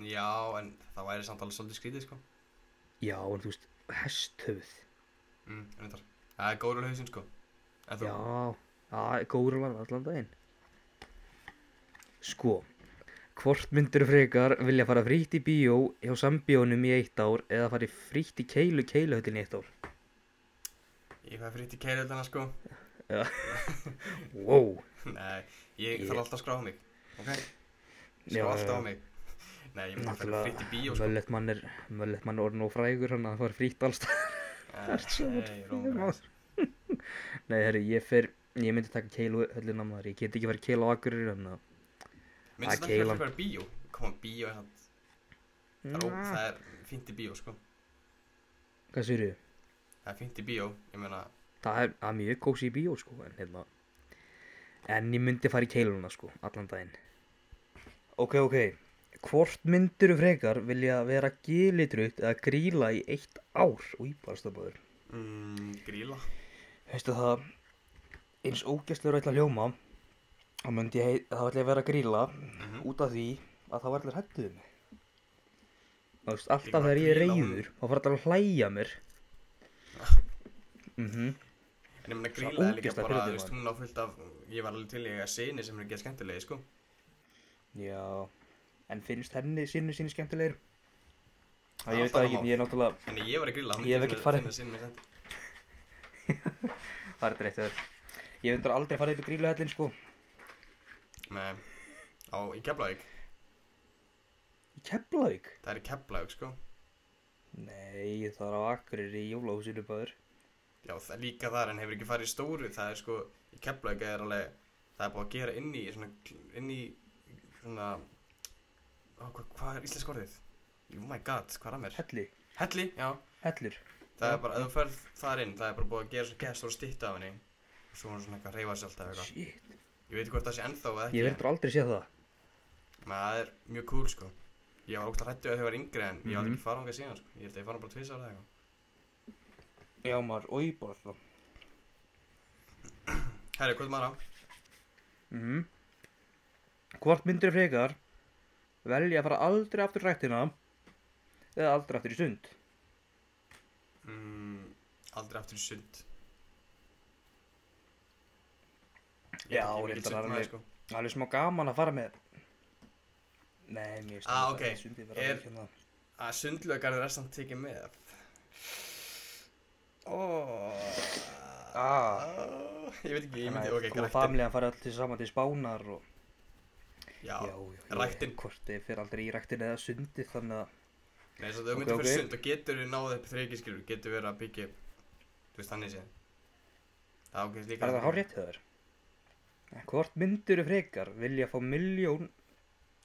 S1: Já, en það væri samt alveg svolítið skrítið sko
S2: Já, en þú veist, hesthöfuð.
S1: mm, reyndar. Það er góður hausinn sko En þú,
S2: Já, já góður var allan daginn. Sko, hvort myndur frekar vilja fara frítt í bíó hjá sambíónum í eitt ár eða fara í frítt í keilu keiluhöllin í eitt ár?
S1: ég fæði fritt í keiröldana sko
S2: Wow,
S1: Nei, ég
S2: Ég-
S1: þarf alltaf að skráða mig Ok,
S2: Já,
S1: skráða alltaf
S2: já.
S1: á mig Nei, ég myndi að fæði fritt í bíó
S2: náttúrulega
S1: sko
S2: möllet mann er, möllet mann er orðin og frægur hann að það fara frítt alls staðar.
S1: Nei, rómur
S2: Nei, herru, ég fer, ég myndi taka keiluhöllin á maður, ég get ekki farið keila á akkurir en að,
S1: Minnst þetta
S2: Að
S1: ekki
S2: keilan.
S1: fyrir bíó Koma bíó er það
S2: Mm.
S1: Það er, ó, það er fínt í bíó, sko.
S2: Hvað sér
S1: Það er fínt í bíó, ég meina,
S2: Það er, það er mjög kósi í bíó sko en, hérna. en ég myndi fara í keiluna sko allan daginn Ok, ok Hvort myndiru frekar vilja vera gilitrutt eða gríla í eitt ár og íbarstafböður?
S1: mm, gríla.
S2: Veistu það, eins ógæstlega rætla hljóma þá myndi ég heit, þá ætla ég að vera að gríla
S1: Mhm.
S2: út af því að það var allir hættuð mig Þú veist,
S1: Líka
S2: alltaf
S1: bara
S2: þegar ég er
S1: grínað.
S2: reyður þá fara allir að hlæja mér mhm
S1: En ég meina,
S2: Svo
S1: gríla er líka
S2: ógeðslega
S1: bara,
S2: pirrandi,
S1: þú veist,
S2: maður.
S1: hún á fullt af, ég var alveg til í að eiga sinni sem er ekki skemmtilegi, sko.
S2: Já, en finnst henni sinni sinni skemmtilegir?
S1: Það er
S2: Já, ég veit
S1: alltaf
S2: það ekki,
S1: annað mál.
S2: ég er náttúrulega
S1: En ég var að grilla, hún
S2: Ég hef ekkert farið-
S1: sinni með skemmtileg.
S2: Það er dreitt þér Ég hef undir aldrei farið upp í gríluhellin sko
S1: Nei, á, í Keflavík,
S2: Í Keflavík?
S1: það er í Keflavík, sko.
S2: Nei, það er á Akureyri í jólahúsinu bæður
S1: Já, það, líka þar, en hefur ekki farið í stóru, það er sko, í Keflavík er alveg, það er búið að gera inn í, svona, inn í, svona, á, hvað, hvað er íslensk orðið? Oh my god, hvað er að mér?
S2: Helli,
S1: Helli, já,
S2: hellur
S1: það
S2: Já.
S1: er bara, ef þú ferð þar inn, það er bara búið að gera svona gestur og stýtt af henni, og svo er hún svona eitthvað að reyfa sér alltaf eitthvað.
S2: Shit,
S1: Ég veit ekki hvort það sé ennþá eða
S2: ég hef
S1: ekki,
S2: undir aldrei séð það
S1: en það er mjög cool, sko. Ég var ógst að hrættu að þau var yngri, en ég var
S2: Mhm.
S1: ekki fara hún síðan, sko. Ég held að ég fara bara tvisar eða eitthvað.
S2: Já maður, og ég bara
S1: sko.
S2: það
S1: Herri, hvað er maður á?
S2: Mhm Hvort myndir frekar velja að fara aldrei aftur í ræktina eða aldrei aftur í sund
S1: Mm, aldrei aftur í sund Ég
S2: Já,
S1: er ekki mikill sundmaður,
S2: reyndar er alveg-
S1: sko.
S2: Það er alveg smá gaman að fara með Nei, mér finnst
S1: Ah,
S2: aldrei
S1: ok.
S2: að sundið vera
S1: Er-
S2: alveg hérna.
S1: Að sundlögarður er samt tekið með Ó
S2: Ah.
S1: Ég veit ekki, ég myndi, ok,
S2: Þannig að þú og
S1: ræktin
S2: familjan fari allir saman til spánar og
S1: Já,
S2: já, já
S1: Ah, ræktin.
S2: ég- hvort þið fyrir aldrei í ræktin eða sundið þannig að
S1: nei, þess að þau
S2: Ok,
S1: myndir
S2: ok.
S1: fyrir sund og getur við náðið upp þreikiskilur, getur verið að byggja upp, þú veist, þannig séð Já, ok, líka
S2: er það hár rétt þér hvort myndur frekar vilja fá miljón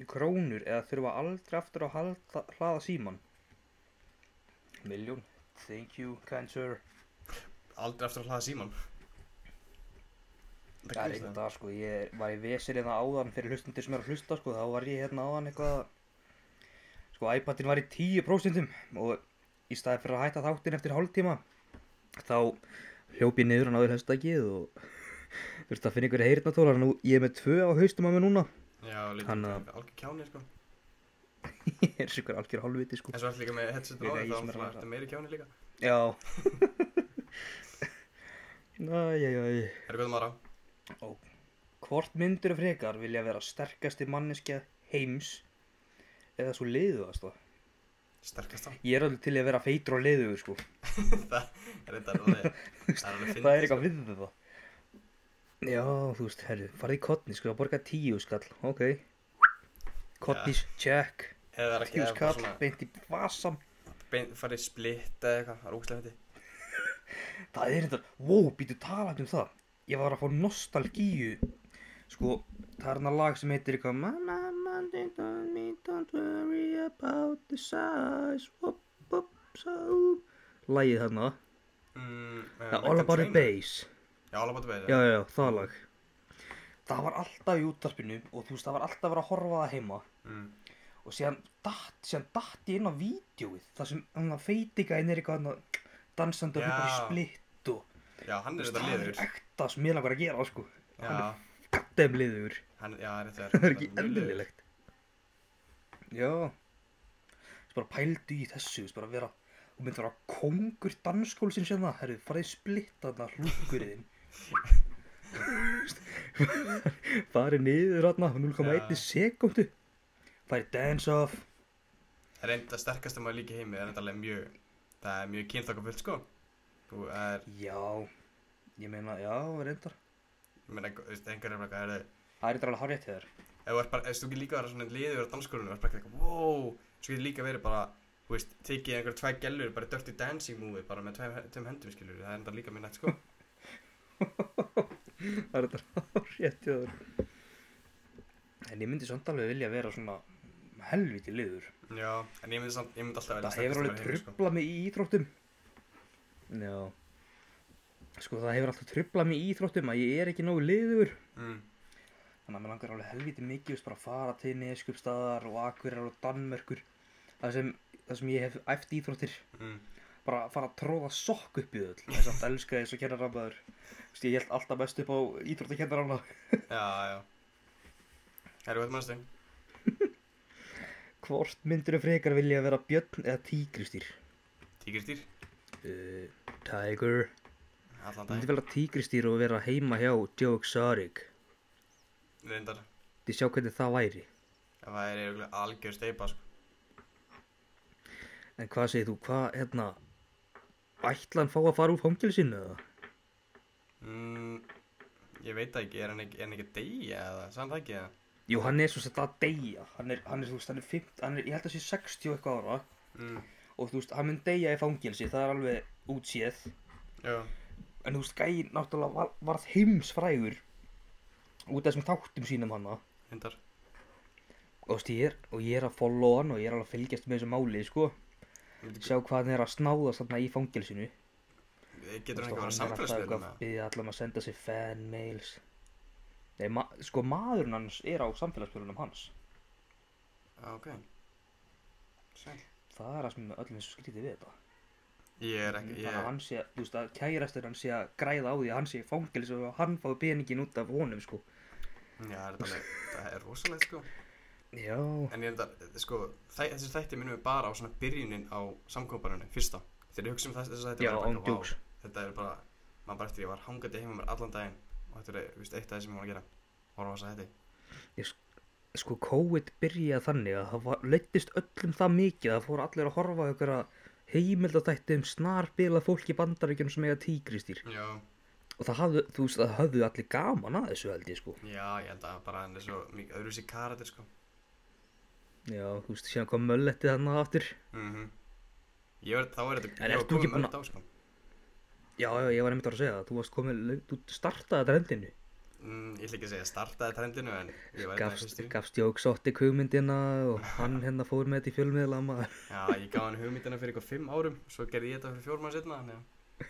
S2: krónur eða þurfa aldrei aftur að halda, hlaða síman miljón thank you kind sir
S1: Aldrei aftur að hlaða síman
S2: það er einn dag sko ég var í vesir hérna áðan fyrir hlustundir sem er að hlusta sko þá var ég hérna áðan eitthvað að- sko iPadin var í 10% og í staði fyrir að hætta þáttin eftir hálftíma þá hljóp ég niður og náði höstakið og þurfti að finna ykkur heyrnatólar nú ég er með tvö á haustum að mér núna
S1: Já, líka,
S2: Hann, uh,
S1: algjör kjáni, sko
S2: ég er svo ykkur algjör hálfviti sko
S1: En svo ertu líka með headset
S2: Ég
S1: á
S2: er
S1: þér,
S2: í
S1: þá
S2: sem er að
S1: ertu
S2: ræða.
S1: meiri kjáni líka
S2: já Æj, æj, æj
S1: Er það maður á?
S2: Hvort myndur frekar vilja vera sterkasti manneskja heims eða svo leiðuðast það?
S1: Sterkast á?
S2: Ég er alveg til í að vera feitur og leiðugur sko
S1: það er þetta alveg, það er alveg fyndið. sko.
S2: Það er eitthvað við það Já, þú veist, herru, farði í kottni, sko, að borga tíu skall, ok Kottnis, check
S1: Eða það er ekki
S2: Tíu
S1: eða bara
S2: skall,
S1: svona,
S2: beint í vasam
S1: bein, farið splitt eða eitthvað, það er ógæslega fyndið.
S2: Það er þetta, wow, býtu talandi um það Ég var að fá nostalgíu Sko, það er hana lag sem heitir eitthvað Mama, mama, don't me, don't worry about the size Wop, wop, so Lagið þarna,
S1: Mm, eh,
S2: það er
S1: Meghan
S2: All About the
S1: Trainor.
S2: Bass
S1: Já, All About the Bass,
S2: já, já, já, það lag það var alltaf í útarpinu og þú veist, það var alltaf verið að horfa á það heima
S1: Mm.
S2: og síðan datt, síðan datt ég inn á vídjóið þar sem hann að feiti gæn er eitthvað hann að dansandi og
S1: Já.
S2: bara splitt og
S1: Já, hann er þetta
S2: það er
S1: liður.
S2: ekta sem ég langar að gera sko
S1: Já,
S2: hann gattem liður,
S1: hann, já, þetta er
S2: það er ekki
S1: mjög liður.
S2: eðlilegt já þess bara pældu í þessu þess bara vera og myndi vera hérna. kongur danskólsinn sem það, herru, farið splitt þarna hlúkurinn farið niður þarna, 0,1
S1: Já.
S2: sekundu farið dance off
S1: Það er enda sterkast maður líka í heimi, það er enda alveg mjög, það er mjög kynþokkafullt, sko. Þú er,
S2: já, ég meina, já, reyndar
S1: ég meina, þú veist, einhverjum er bara, eitthvað, heyrðu,
S2: það er reyndar alveg hárétt hér
S1: ef þú ert bara, ef þú getur líka að vera svona liður á dansskólinu, þú ert bara eitthvað, wow, þú getur líka verið bara, þú veist, tekið einhver tvær gellur, bara í dirty dancing movie, bara með tveim, tveim hendum, skilur, það er enda líka mjög nætt, sko.
S2: það er reyndar hárétt hér en ég myndi samt alveg vilja vera svona helviti liður
S1: Já, en ég myndi, samt, ég myndi alltaf velja
S2: það hefur alveg
S1: sko.
S2: trublað mig í íþróttum já sko það hefur alltaf trublað mig í íþróttum að ég er ekki nógu liður
S1: Mm,
S2: þannig að mér langar alveg helviti mikið veist, bara að fara til neskjöpstaðar og akverar og Danmörkur það sem, það sem ég hef æft íþróttir
S1: mm,
S2: bara að fara að tróða sokk upp í þau öll það er samt elska þessu kennarabæður Vist, ég held alltaf best upp á íþróttakennarana
S1: já, já. Herru, hvað mannstu?
S2: hvort myndur þau frekar vilja vera björn eða tígristýr
S1: Tíkristýr?
S2: uh, Tiger
S1: Allan
S2: myndi
S1: dag.
S2: vera tígristýr og vera heima hjá Joe Exotic
S1: Reyndar.
S2: þið sjá hvernig það væri
S1: Það er eiginlega algjör steipa, sko.
S2: en hvað segir þú, hvað hérna ætla hann fá að fara úr fangilsinu eða?
S1: Mm, ég veit það ekki, er hann ekki, er hann ekki að deyja eða, samt ekki eða?
S2: Jú, hann er svo sett að deyja hann er, hann er, þú veist, hann er 50, hann er, ég held að sé 60 og eitthvað ára
S1: Mm,
S2: og þú veist, hann mun deyja í fangilsi, það er alveg útséð
S1: já,
S2: en þú veist, gæinn náttúrulega var, varð heimsfrægur út af þessum þáttum sínum hanna
S1: reyndar.
S2: og, þú veist, ég er, og ég er að followa hann og ég er alveg að fylgjast með þessu máli sko. sjá hvað hann er að snáðast þarna í fangilsinu
S1: Getur hann ekki að vera
S2: hann er alltaf
S1: samfélagsmiðlum
S2: eitthvað
S1: eða?
S2: að byggja allan að senda sér fanmails Nei, ma sko maðurinn hans er á samfélagsfjörunum hans
S1: Já, ok. Sæl.
S2: það er það sem öllum er svo skrítið við þetta
S1: Ég er ekki,
S2: þannig að
S1: ég,
S2: hann sé, þú veist að kærastur hann sé að græða á því að hann sé í fangils og hann fái peningin út af honum sko
S1: já, þetta er, það er rosalegt, sko.
S2: já,
S1: En ég reyndar, sko, þæ, þessi þætti minnum við bara á svona byrjunin á samkóparinu, fyrsta. Þegar ég hugsa um þess, þessi þætti,
S2: já,
S1: var ég bara
S2: án
S1: eitthvað, vá,
S2: djóks
S1: Þetta er bara, maður bara eftir ég var hangandi heima mér allan daginn og þetta er, eh, víst, eitt af það sem ég var að gera. Horfa á þess að þetta.
S2: sko COVID byrjaði þannig að það var, leittist öllum það mikið að það fóru allir að horfa á ykkur að heimildatætti um snarbila fólk í bandaríkjum sem eiga tígristýr
S1: Já.
S2: og það hafðu, þú veist, það höfðu allir gaman að þessu held ég sko
S1: Já, ég held að bara hann er svo mikið öðruvísi karatir, sko.
S2: já, þú veist, síðan kom möllettið hann aftur
S1: Mhm. Ég var, þá er þetta,
S2: En
S1: ég
S2: ert
S1: var
S2: þú ekki
S1: komið
S2: búin
S1: mörg dag, sko.
S2: já, já, ég var einmitt að fara að segja það, þú varst komin, þú startaði þetta rendinu
S1: Mm, ég ætla ekki að segja startaði trendinu, en ég var einn af
S2: gafst,
S1: fyrstu.
S2: gafst Jóksótti hugmyndina og hann hérna fór með þetta í fjölmiðla maður.
S1: Já, ég gaf hann hugmyndina fyrir eitthvað fimm árum, svo gerði ég þetta fyrir fjórum ára setna, þannig að,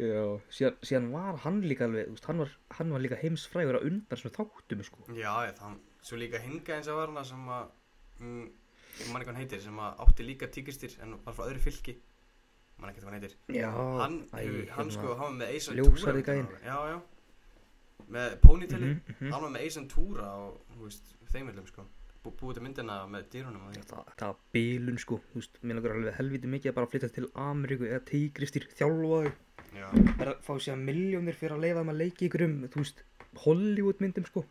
S2: Já, síðan, síðan var hann líka alveg, þú veist, hann var, hann var líka heimsfrægur að undan sem þáttum, sko.
S1: já, ég, þann, svo líka hinga eins og var hana sem að, mm, ég man ekki hvað hann heitir, sem að átti líka tíkistir, en var frá öðru fylki, Ég man ekki hvað hann heitir.
S2: Já,
S1: hann,
S2: æ, hérna,
S1: hefur- hann sko, hann var með Ace
S2: ljóshærði gæinn.
S1: Já, já, með ponytaili,
S2: Mhm, mhm.
S1: hann var með Ace Ventura og, þú veist, þeimillum, sko, Bú, búið til myndina með dýrunum og því.
S2: Það, það var bílun, sko, þú veist, mér langar alveg helviti mikið að bara flytja til Ameríku eða tígristýr, þjálfa þau,
S1: Já,
S2: verða að fá síðan miljónir fyrir að leifa þeim að leiki ykkur um, þú veist, Hollywood myndum, sko.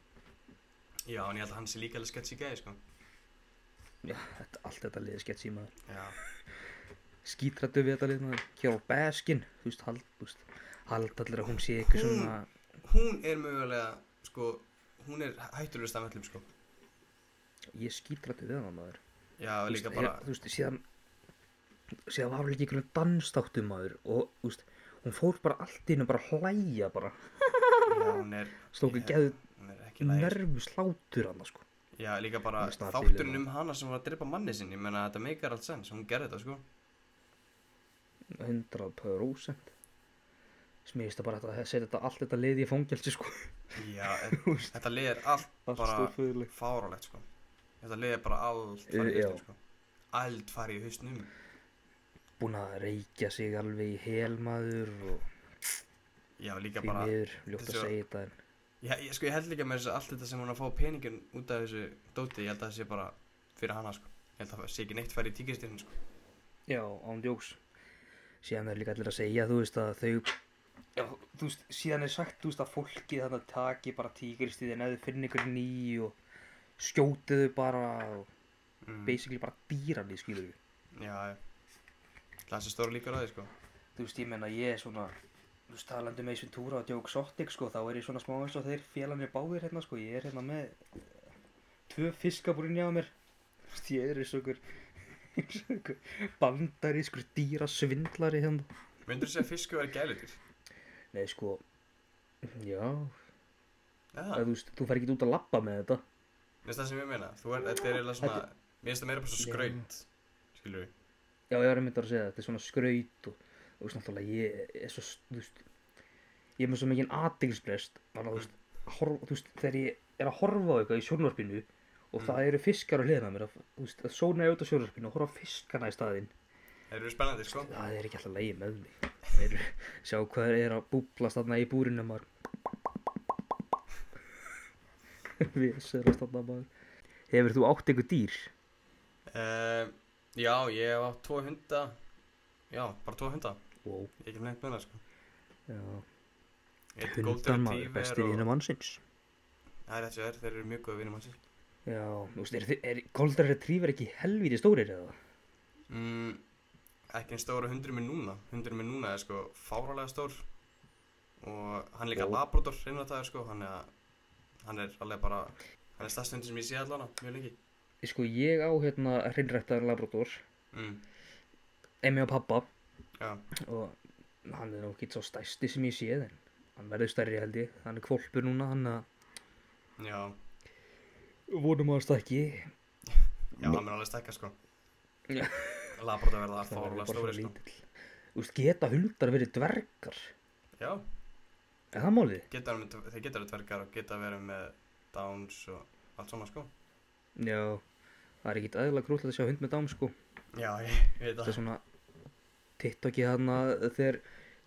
S1: já, en ég held að hann sé líka alveg sketchy gæði, sko.
S2: Já, þetta, allt þetta liði skett símaður.
S1: Já,
S2: skítrættu við þetta lið maður Carol Baskin, þú veist, hald, þú veist hald allir að hún sé eitthvað
S1: Hún-
S2: svona
S1: hún er mögulega, sko, hún er hættulegust af öllum, sko.
S2: ég skítrættu við hann maður
S1: Já,
S2: Þú
S1: líka
S2: veist,
S1: bara,
S2: er- þú veist, síðan síðan var hún líka einhvern danstáttum maður og, þú veist, hún fór bara allt í hennu bara að hlæja bara
S1: já, hún er,
S2: stóku
S1: Ég-
S2: geðu
S1: hún er ekki lægir.
S2: nervu slátur hann sko.
S1: Já, líka bara
S2: Hún er snart
S1: þátturinn
S2: bíluð.
S1: um hana sem var að drepa manni sinn, ég meina þetta meikar allt sens, hún gerði þetta, sko.
S2: 100% smýst það bara að þetta setja þetta allt þetta lið í fangelsi sko
S1: Já, en, þetta lið er allt bara
S2: stórföðuleg
S1: fárálegt, sko. Þetta lið er bara allt farið í
S2: Eh, já.
S1: hausnum, sko. Allt farið í hausnum.
S2: búin að reykja sig alveg í helmaður og
S1: Já, líka
S2: því
S1: bara,
S2: miður ljótt að
S1: þessu-
S2: segja þetta en
S1: já, ég, sko, ég held líka með þess að allt þetta sem hún er að fá peningin út af þessu dóti, ég held að það sé bara fyrir hana, sko. Ég held að það sé ekki neitt farið í tíkistinn, sko.
S2: Já, án djóks. Síðan er líka allir að segja, þú veist, að þau... Já, þú veist, síðan er sagt, þú veist, að fólki þannig að taki bara tígristíðin eða þau finna ykkur ný og skjóti þau bara og
S1: Mm.
S2: basically bara dýran í skilur við.
S1: Já, já. það er svo stóra líkur á því, sko.
S2: Þú veist, ég menna, ég er svona, þú veist, talandi um Eisvin Túra og Djók Sottik, sko, þá er ég svona smá eins og þeir félanir báðir hérna, sko, ég er hérna með eh, tvö fiskabúrin hjá mér. Þú veist, ég er eins og ykkur, eins og ykkur bandarískur dýrasvindlari hérna.
S1: Myndur þú segja að fiskur verið gælutir?
S2: Nei, sko, já,
S1: Já,
S2: eða, þú veist, þú fer ekki út að labba með þetta.
S1: veist það sem ég meina. Þú er, þetta er eiginlega svona, Mér finnst það meira bara svo
S2: Já.
S1: skraut Skilur við
S2: Já, ég var einmitt að segja, þetta er svona skraut og, og þú veist náttúrulega, ég er svo, þú veist, ég er með svo mikinn aðdeglisbrest, bara, þú veist, horf, þú veist, þegar ég er að horfa á eitthvað í sjónvarpinu og það eru fiskar að hliða á mér, að, þú veist, að sóna ég út á sjónvarpinu og horfa á fiskana í staðinn,
S1: Það eru spennandi sko
S2: það er ekki alltaf lægi með mig, það eru, sjá hvað þeir eru að búblast þarna í búrinu maður, við serast þarna maður, hefur þú átt einhver dýr?
S1: uh, Já, ég hef átt tvo hunda Já, bara tvo hunda
S2: Wow,
S1: Ég get neitt með það sko
S2: já,
S1: Einn golden
S2: hundan maður,
S1: retriever
S2: besti
S1: og-
S2: vinur mannsins.
S1: Það er þessi verð, þeir eru mjög góð vinum hans
S2: Já, þú veist, er, er Golden Retriever ekki helvíti stórir eða?
S1: mm, Ekki en stóra hundur minn núna Hundur minn núna er sko fáralega stór Og hann er líka
S2: Ó.
S1: labrador innvættaður sko Hann er, hann er alveg bara Hann er stærst hundur sem ég sé allan á Mjög lengi
S2: Sko, ég á hérna hreinræktaðan labrador,
S1: mm,
S2: emmi og pappa
S1: Já,
S2: og hann er nú ekki svo stæsti sem ég séð en hann verður stærri held ég, hann er kvolpur núna, hann að
S1: já,
S2: vonum að hann stækki.
S1: já, hann er alveg stekka sko
S2: Já.
S1: Labrador verða
S2: Það verður
S1: fáralega
S2: bara
S1: stóri
S2: svo
S1: sko
S2: lítill. Þú veist, geta hundar verið dvergar?
S1: Já,
S2: Er það málið?
S1: geta verið með, þeir geta verið dvergar og geta verið með Downs og allt svona sko
S2: Já, það er ekkit aðeinslega krúll að sjá hund með dám sko.
S1: Já, ég, ég veit
S2: Það er
S1: það
S2: svona TikTokið þarna þegar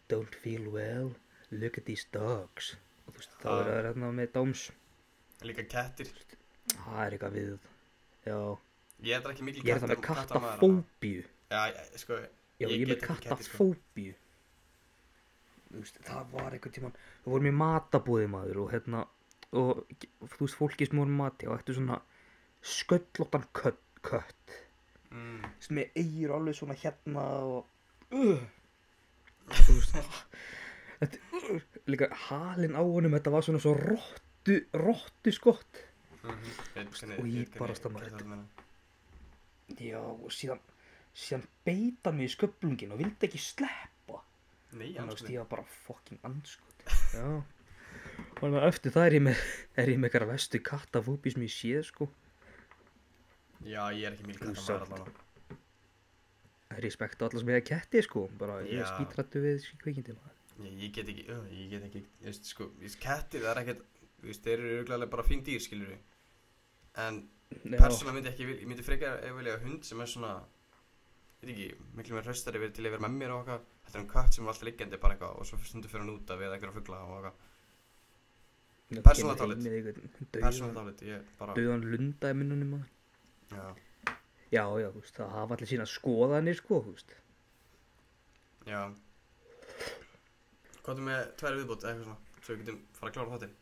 S2: Don't feel well, look at these dogs og þú veist, þá
S1: Já.
S2: er það hérna með Downs
S1: Líka kettir
S2: það er eitthvað við þetta Já,
S1: Ég er ekki mikil
S2: ég er það með
S1: katta- kattamaður,
S2: kattafóbíu
S1: Já, ég- sko, Ég
S2: Já, ég er
S1: get
S2: með
S1: ekki ketti, sko.
S2: kattafóbíu Þú veist, það var einhvern tímann við vorum í matabúði maður og hérna og þú veist, fólki sem voru með mati og eftir svona sköllóttan kött, kött
S1: mm,
S2: sem er eigir alveg svona hérna og uh, þú veist þetta, uh, líka halinn á honum þetta var svona svo rottu rottu skott
S1: mm, veit, hvernig,
S2: Og Sko, ég bara stamma þetta. já og síðan síðan beita mig í sköflungin og vildi ekki sleppa
S1: Nei,
S2: þannig að
S1: annars
S2: stíða bara fucking anskot sko. já þannig að eftir það er ég með er ég með eitthvað vestu kattafóbi sem ég séð sko
S1: Já, ég er ekki mikil
S2: Þú
S1: kattamaður
S2: samt.
S1: allan
S2: það er ég spekt á alla sem ég að ketti sko bara ég er
S1: Já.
S2: skítrættu við kvikindi maður
S1: ég, ég get ekki, uh, ég get ekki ég veist, sko, ég veist, kettir það er ekkert þú veist, þeir eru auðvitað bara fín dýr, skilur við en
S2: Já.
S1: persónulega myndi ekki, vil- ég myndi frekar ef vilja hund sem er svona ég veit ekki, miklu mér hraustari verið til að vera með mér og okkar þetta er um kött sem er alltaf liggjandi bara eitthvað og svo stundu fyrir hann út að við einhverja fugla og okkar persónulega talið.
S2: persónatálit
S1: persónulega dálit, ég bara
S2: döðan lunda í minnunum maður
S1: já,
S2: já, já, þú veist, það hafa allir sína skoðanir sko, þú veist
S1: já hvað er með tværi viðbútt eða eitthvað svona svo við getum fara að klára þáttinn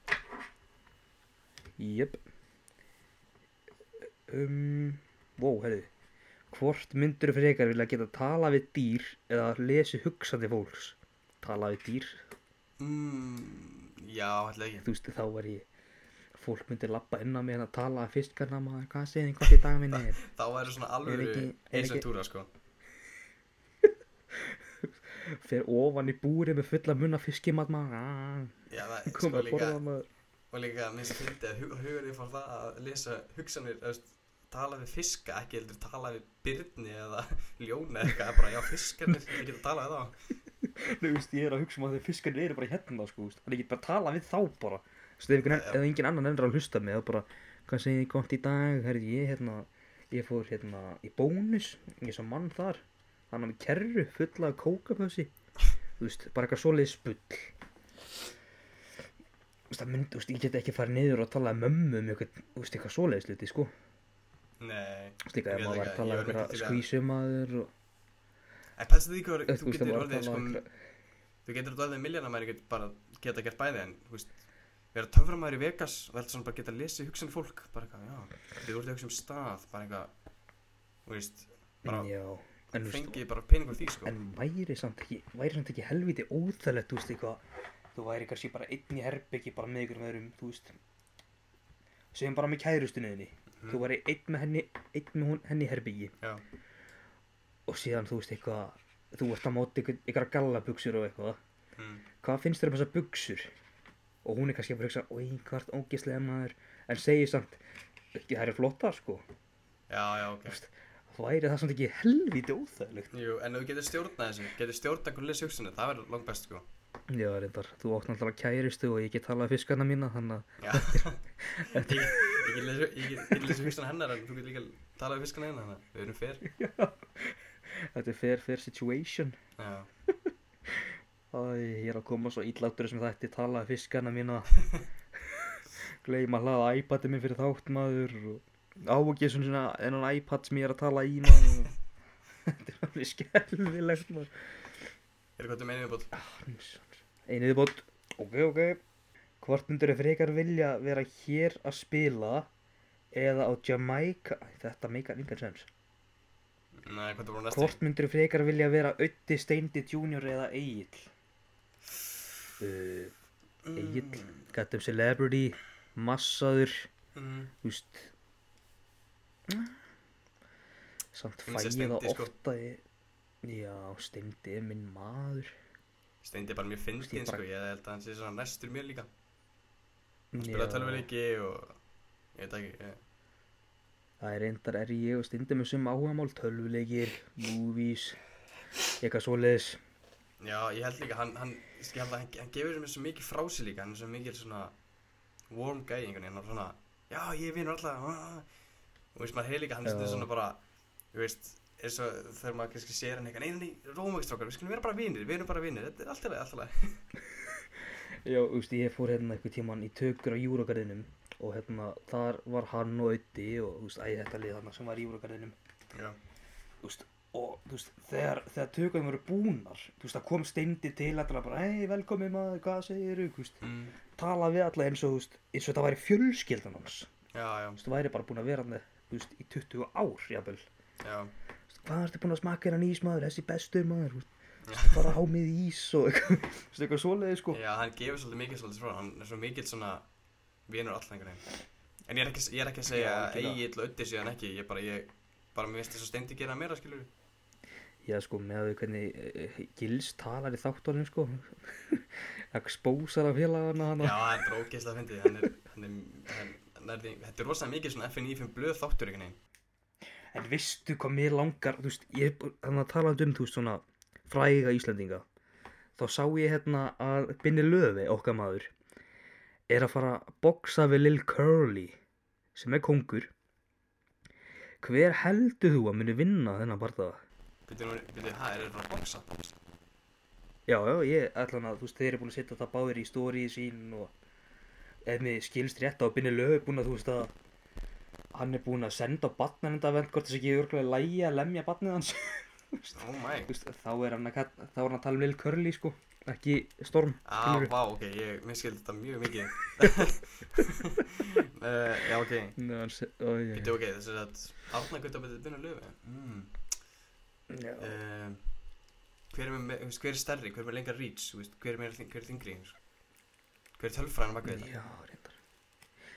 S2: jöp um, wow, herðu hvort myndur frekar vilja geta tala við dýr eða lesi hugsandi fólks tala við dýr,
S1: mm, já, ætla ekki
S2: þú veist, þá var ég fólk myndi labba inn á mig en að tala að fiskarna maður, hvað segir þið, hvað í dag minni er
S1: þá er svona alveg
S2: ekki- er ekki-
S1: eisentúra sko
S2: fer ofan í búri með fulla munna fiskimat maður aaaah,
S1: já, það, sko
S2: kom að
S1: líka
S2: borða maður
S1: og líka minnst að fyndi að hu- hugurinn fór það að lesa hugsanir þú veist, tala við fiska, ekki heldur tala við byrni eða ljóna eða eitthvað, bara já fiskarnir, ég get að tala við þá
S2: Nei, veist, ég er að hugsa um að þeir fiskarnir eru bara hérna, sko, veist. hann er ekki bara að tala við þá bara. Þú veist, ef einhvern- ef engin annan ennur að hlusta með, þá bara, hvað segir þið gott í dag, herrðu, ég, hérna, ég fór, hérna, í bónus, ég sá mann þar, hann á með kerru, fulla af kókapössi, þú veist, bara eitthvað svoleiðið spull. Þú veist, það myndi, þú veist, ég get ekki farið niður og tala um mömmu um eitthvað, þú veist, eitthvað svoleiðið sluti, sko.
S1: Nei,
S2: Þú veist, líka,
S1: Ég
S2: ef maður
S1: veit
S2: var
S1: ekki,
S2: að tala
S1: ég
S2: um
S1: var mikið til
S2: eitthvað
S1: í að-
S2: skvísumaður og,
S1: en pæstu því hvað
S2: þú
S1: þú getur
S2: veist, ef maður var
S1: orðið
S2: að
S1: sko,
S2: tala um eitthvað,
S1: þú getur orðið miljónamæri, getur bara geta gert bæði en þú veist, vera töframæri í Vegas og heldur svona bara geta lesið hugsanir fólk bara eitthvað, já, þið voruð hugsa um stað bara eitthvað, þú veist bara
S2: já, en, þú veist,
S1: fengið bara peningur því sko,
S2: En væri samt ekki, væri samt ekki helviti óþægilegt, þú veist, eitthvað, þú væri kannski bara einn í herbyggi, bara með ykkur öðrum, þú veist, segjum bara með kærustunuðinni,
S1: Mhm.
S2: þú væri einn með henni, einn með hún, henni í herbyggi
S1: já,
S2: og síðan, þú veist, eitthvað, þú ert að móti ykkur, ykkur gallabuxur og eitthvað,
S1: mm,
S2: hvað finnst þér um þessar buxur? Og hún er kannski að fyrir að hugsa, oi, hvað ert ógislega maður, en segir samt, það eru flottar, sko,
S1: já, já, ok
S2: væri það samt ekki helviti óþægilegt
S1: Jú, en ef þú getur stjórnað þessu, getur stjórnað hvernig leys hugsunni, það verður langt best sko
S2: já reyndar, þú átt náttúrulega kæristu og ég get talað við fiskana mína þannig að
S1: Já, ég ég get lesið- ég get- ég get lesið hugsunna hennar en þú getur líka talað við fiskana hennar, þannig að við erum fer
S2: þetta er fair fair situation
S1: Já,
S2: Æ, ég er að koma svo íllátur sem þetta tala við fiskana mína gleyma að hlaða iPadið minn fyrir þátt maður og á ekki svona enn iPad sem ég er að tala í maður þetta er alveg skelvilegt maður
S1: er hvað þú meinið upp á
S2: Einuði bótt Ok, ok Hvort myndur þau frekar vilja vera hér að spila eða á Jamaica Æ, Þetta meikar engan sens
S1: Nei, hvað þú búin að næstu
S2: Hvort myndur þau frekar vilja vera Ötti Steindi Junior eða Egil
S1: Eh,
S2: uh, Egil Gattum Celebrity Massaður
S1: Mm.
S2: Þú veist Samt
S1: Ég myndi
S2: fæ
S1: segja
S2: ég það
S1: Steindi, sko.
S2: ofta í- Já, Steindi er minn maður
S1: Steindi er bara mjög
S2: Ég
S1: fyndin
S2: bara-
S1: sko, ég held að hann sé svona næstur mér líka Hann
S2: Já.
S1: spilaði tölvuleiki og ég veit það ekki, ég,
S2: Það er reyndar er ég og stundum sem áhugamál tölvuleikir, movies, eitthvað svoleiðis.
S1: já, ég held líka, hann, hann, ég held að hann, hann gefur mér svo mikið frá sig líka, hann er svo mikið svona warm guy einhvern veginn, hann er svona, já, ég vinur alltaf, ah. og veist, maður hefur líka, hann er
S2: Já.
S1: stundum svona bara, þú veist, eins og þegar maður kannski sér hann eitthvað, nei, nei, nei, rómækstrákar, við skulum vera bara vinir, við erum bara vinir, þetta er alltaf leið, alltaf leið,
S2: Já, þú veist, ég fór hérna einhver tíman í tökur á Júragarðinum og hérna þar var hann og Ötti og þú veist, æ, þetta lið þarna sem var í Júragarðinum.
S1: já,
S2: Þú veist, og þú veist, þegar, þegar tökurinn voru búnar, þú veist, það kom steindi til allra bara, hei, velkomin maður, hvað segir þú, veist,
S1: mm.
S2: tala við alla eins og, þú veist, eins og það væri fjölskyldan hans.
S1: já, já,
S2: Þú veist, væri bara búin að vera hann, þú veist, í 20 ár, jafnvel.
S1: já,
S2: Þú veist, hvað ertu búinn að smaka hérna ís maður, þessi bestur maður, þú veist, bara há með ís og eitthvað, þú veist, eitthvað svoleiði sko.
S1: já, hann gefur svolítið mikið svolítið frá, hann er svo mikið svona, vinur alltaf einhvern veginn, en ég er ekki, ég er ekki að segja,
S2: Já, algjörlega.
S1: eigi illa ötti síðan ekki, ég bara, ég, bara, mér veist þess að steindi gera meira, skilur
S2: Já sko, með að þau hvernig uh, Gils talar í þáttunum sko, það spósar af félagana hana.
S1: Já, það er bara ógeðslega fyndið, hann er, hann er, hann, hann er, þetta er rosalega mikið svona FNI fyrir blöð þáttur einhvern veginn.
S2: En veistu hvað mér langar, þú veist, ég er bú- þannig að tala um, þú veist, svona fræga Íslandinga. Þá sá ég hérna að Binni Löfi, okkar maður, er að fara að boksa við Lil Curly, sem er kongur. Hver heldur þú að muni vinna þennan barðaða?
S1: Býttu nú, býttu, hæ, er þetta að boxa?
S2: Já, já, ég ætla hann að, þú veist, þeir eru búin að setja það báðir í stóriði sín og ef mér skilst rétt á Binni Löf er búin að, þú veist, að hann er búin að senda á batnarendavend hvort þess ekki örgulega lægi að lemja batnið hans
S1: Oh my.
S2: Þú veist, þá er hann að, kall- þá er hann að tala um Lil Curly, sko, ekki Storm
S1: Á,
S2: skilurðu.
S1: Ah, vá, ok, ég, mér skildi þetta mjög mikið. uh, já, ok,
S2: Nei, hann se- ó, já,
S1: býttu, ok, þess að Arna Gutta betið byrja að löfu. Mm.
S2: já.
S1: Uh, hver er, með, þú veist, hver er stærri, hver er með lengra reach, þú veist, hver er meira, þyng- hver er þingri, þú veist? hver er tölfræðan bak við þetta?
S2: Já, reyndar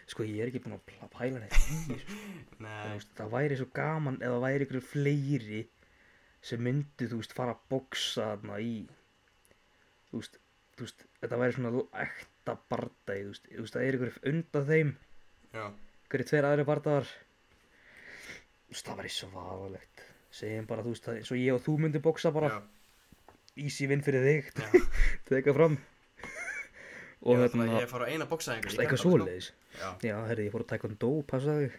S2: Sko, ég er ekki búin að pla- pæla neitt í þessu, En, þú
S1: Nei,
S2: veist, það væri svo gaman ef það væri ykkur fleiri sem myndu, þú veist, fara að boksa þarna í þú veist, þú veist, þetta væri svona ekta bardagi, þú veist, þú veist, það er ykkur undan þeim,
S1: já,
S2: ykkur tveir aðri bardagar þú veist, það væri svaðalegt segjum bara, þú veist, það eins og ég og þú myndi boksa bara,
S1: já,
S2: easy vinn fyrir þig
S1: já.
S2: teka fram og
S1: Ég, ætla,
S2: þarna,
S1: ég fór á eina boxa
S2: þú
S1: einhvern,
S2: veist, eitthvað svoleiðis
S1: Já.
S2: já, herri, ég fór að tækja um dó, passa þig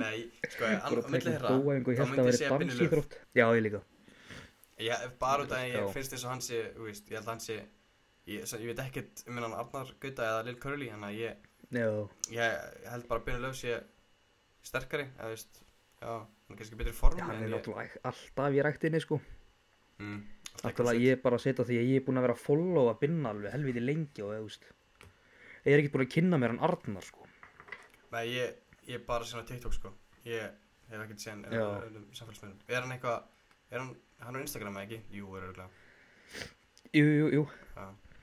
S1: Nei, sko,
S2: fór
S1: annað
S2: að
S1: milli
S2: tækja
S1: þeirra
S2: um dó og ég
S1: þá myndi
S2: held
S1: ég
S2: að væri
S1: segja Binnulöf
S2: dansíþrótt já, ég líka
S1: Já, bara út af að ég
S2: Já.
S1: finnst eins og hans ég, veist, ég held að hans ég ég, svo- ég veit ekkert um hennan Arnar Gauta eða Lil Curly þannig að ég,
S2: já,
S1: ég held bara að Binnulöf sé sterkari eða veist, já, hann er kannski betri form
S2: Já, hann
S1: en
S2: er
S1: ég-
S2: náttúrulega ek- alltaf í ræktinni sko
S1: mm, alltaf
S2: Náttúrulega
S1: eitthvað
S2: ég er bara að setja því að ég er búinn að vera að followa Binna alveg helviti lengi og eða, þú veist Ég er ekkert búinn að kynna mér hann Arnar sko
S1: sitt. Nei, ég, ég er bara svona TikTok sko ég hef ekkert séð hann
S2: Já.
S1: er, samfélagsmiðlum Er hann eitthvað, er hann, hann er Instagram eða ekki? Jú, er örgulega
S2: Jú, jú, jú,
S1: Já,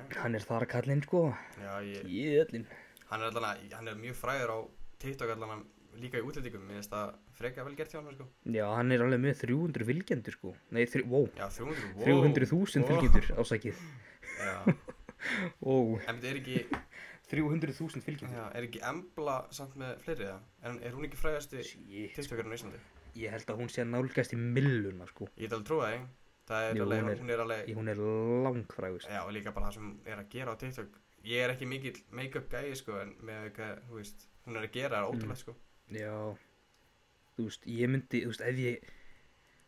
S1: okay.
S2: hann er þar kallinn sko
S1: já ég,
S2: Jölin
S1: hann er allan að, hann er mjög fræður á TikTok allan að líka í útlendingum, ég veist að freka vel gert hjá hann, sko.
S2: Já, hann er alveg með 300 fylgjendur sko Nei, þrjú, wow,
S1: Já, 300, wow.
S2: 300.000
S1: wow.
S2: fylgjendur ásækið
S1: Já,
S2: Ó,
S1: en þetta er ekki,
S2: 300.000 fylgjandi
S1: Já, er ekki Embla samt með fleiri það? Er, hún- er hún ekki frægasti
S2: Shit,
S1: tiltökurinn á Íslandi?
S2: ég held að hún sé að nálgast í milluna sko
S1: Ég get alveg trúið það, ekki? Það er
S2: Jú,
S1: alveg,
S2: hún
S1: hún
S2: er-
S1: er, alveg,
S2: Í, hún er langfrægust
S1: já, og líka bara það sem er að gera á TikTok. Ég er ekki mikill make-up gæi, sko, en með eitthvað, þú veist, hún er að gera það er
S2: Mm.
S1: ótrúlega, sko.
S2: Já Þú veist, ég myndi, þú veist, ef ég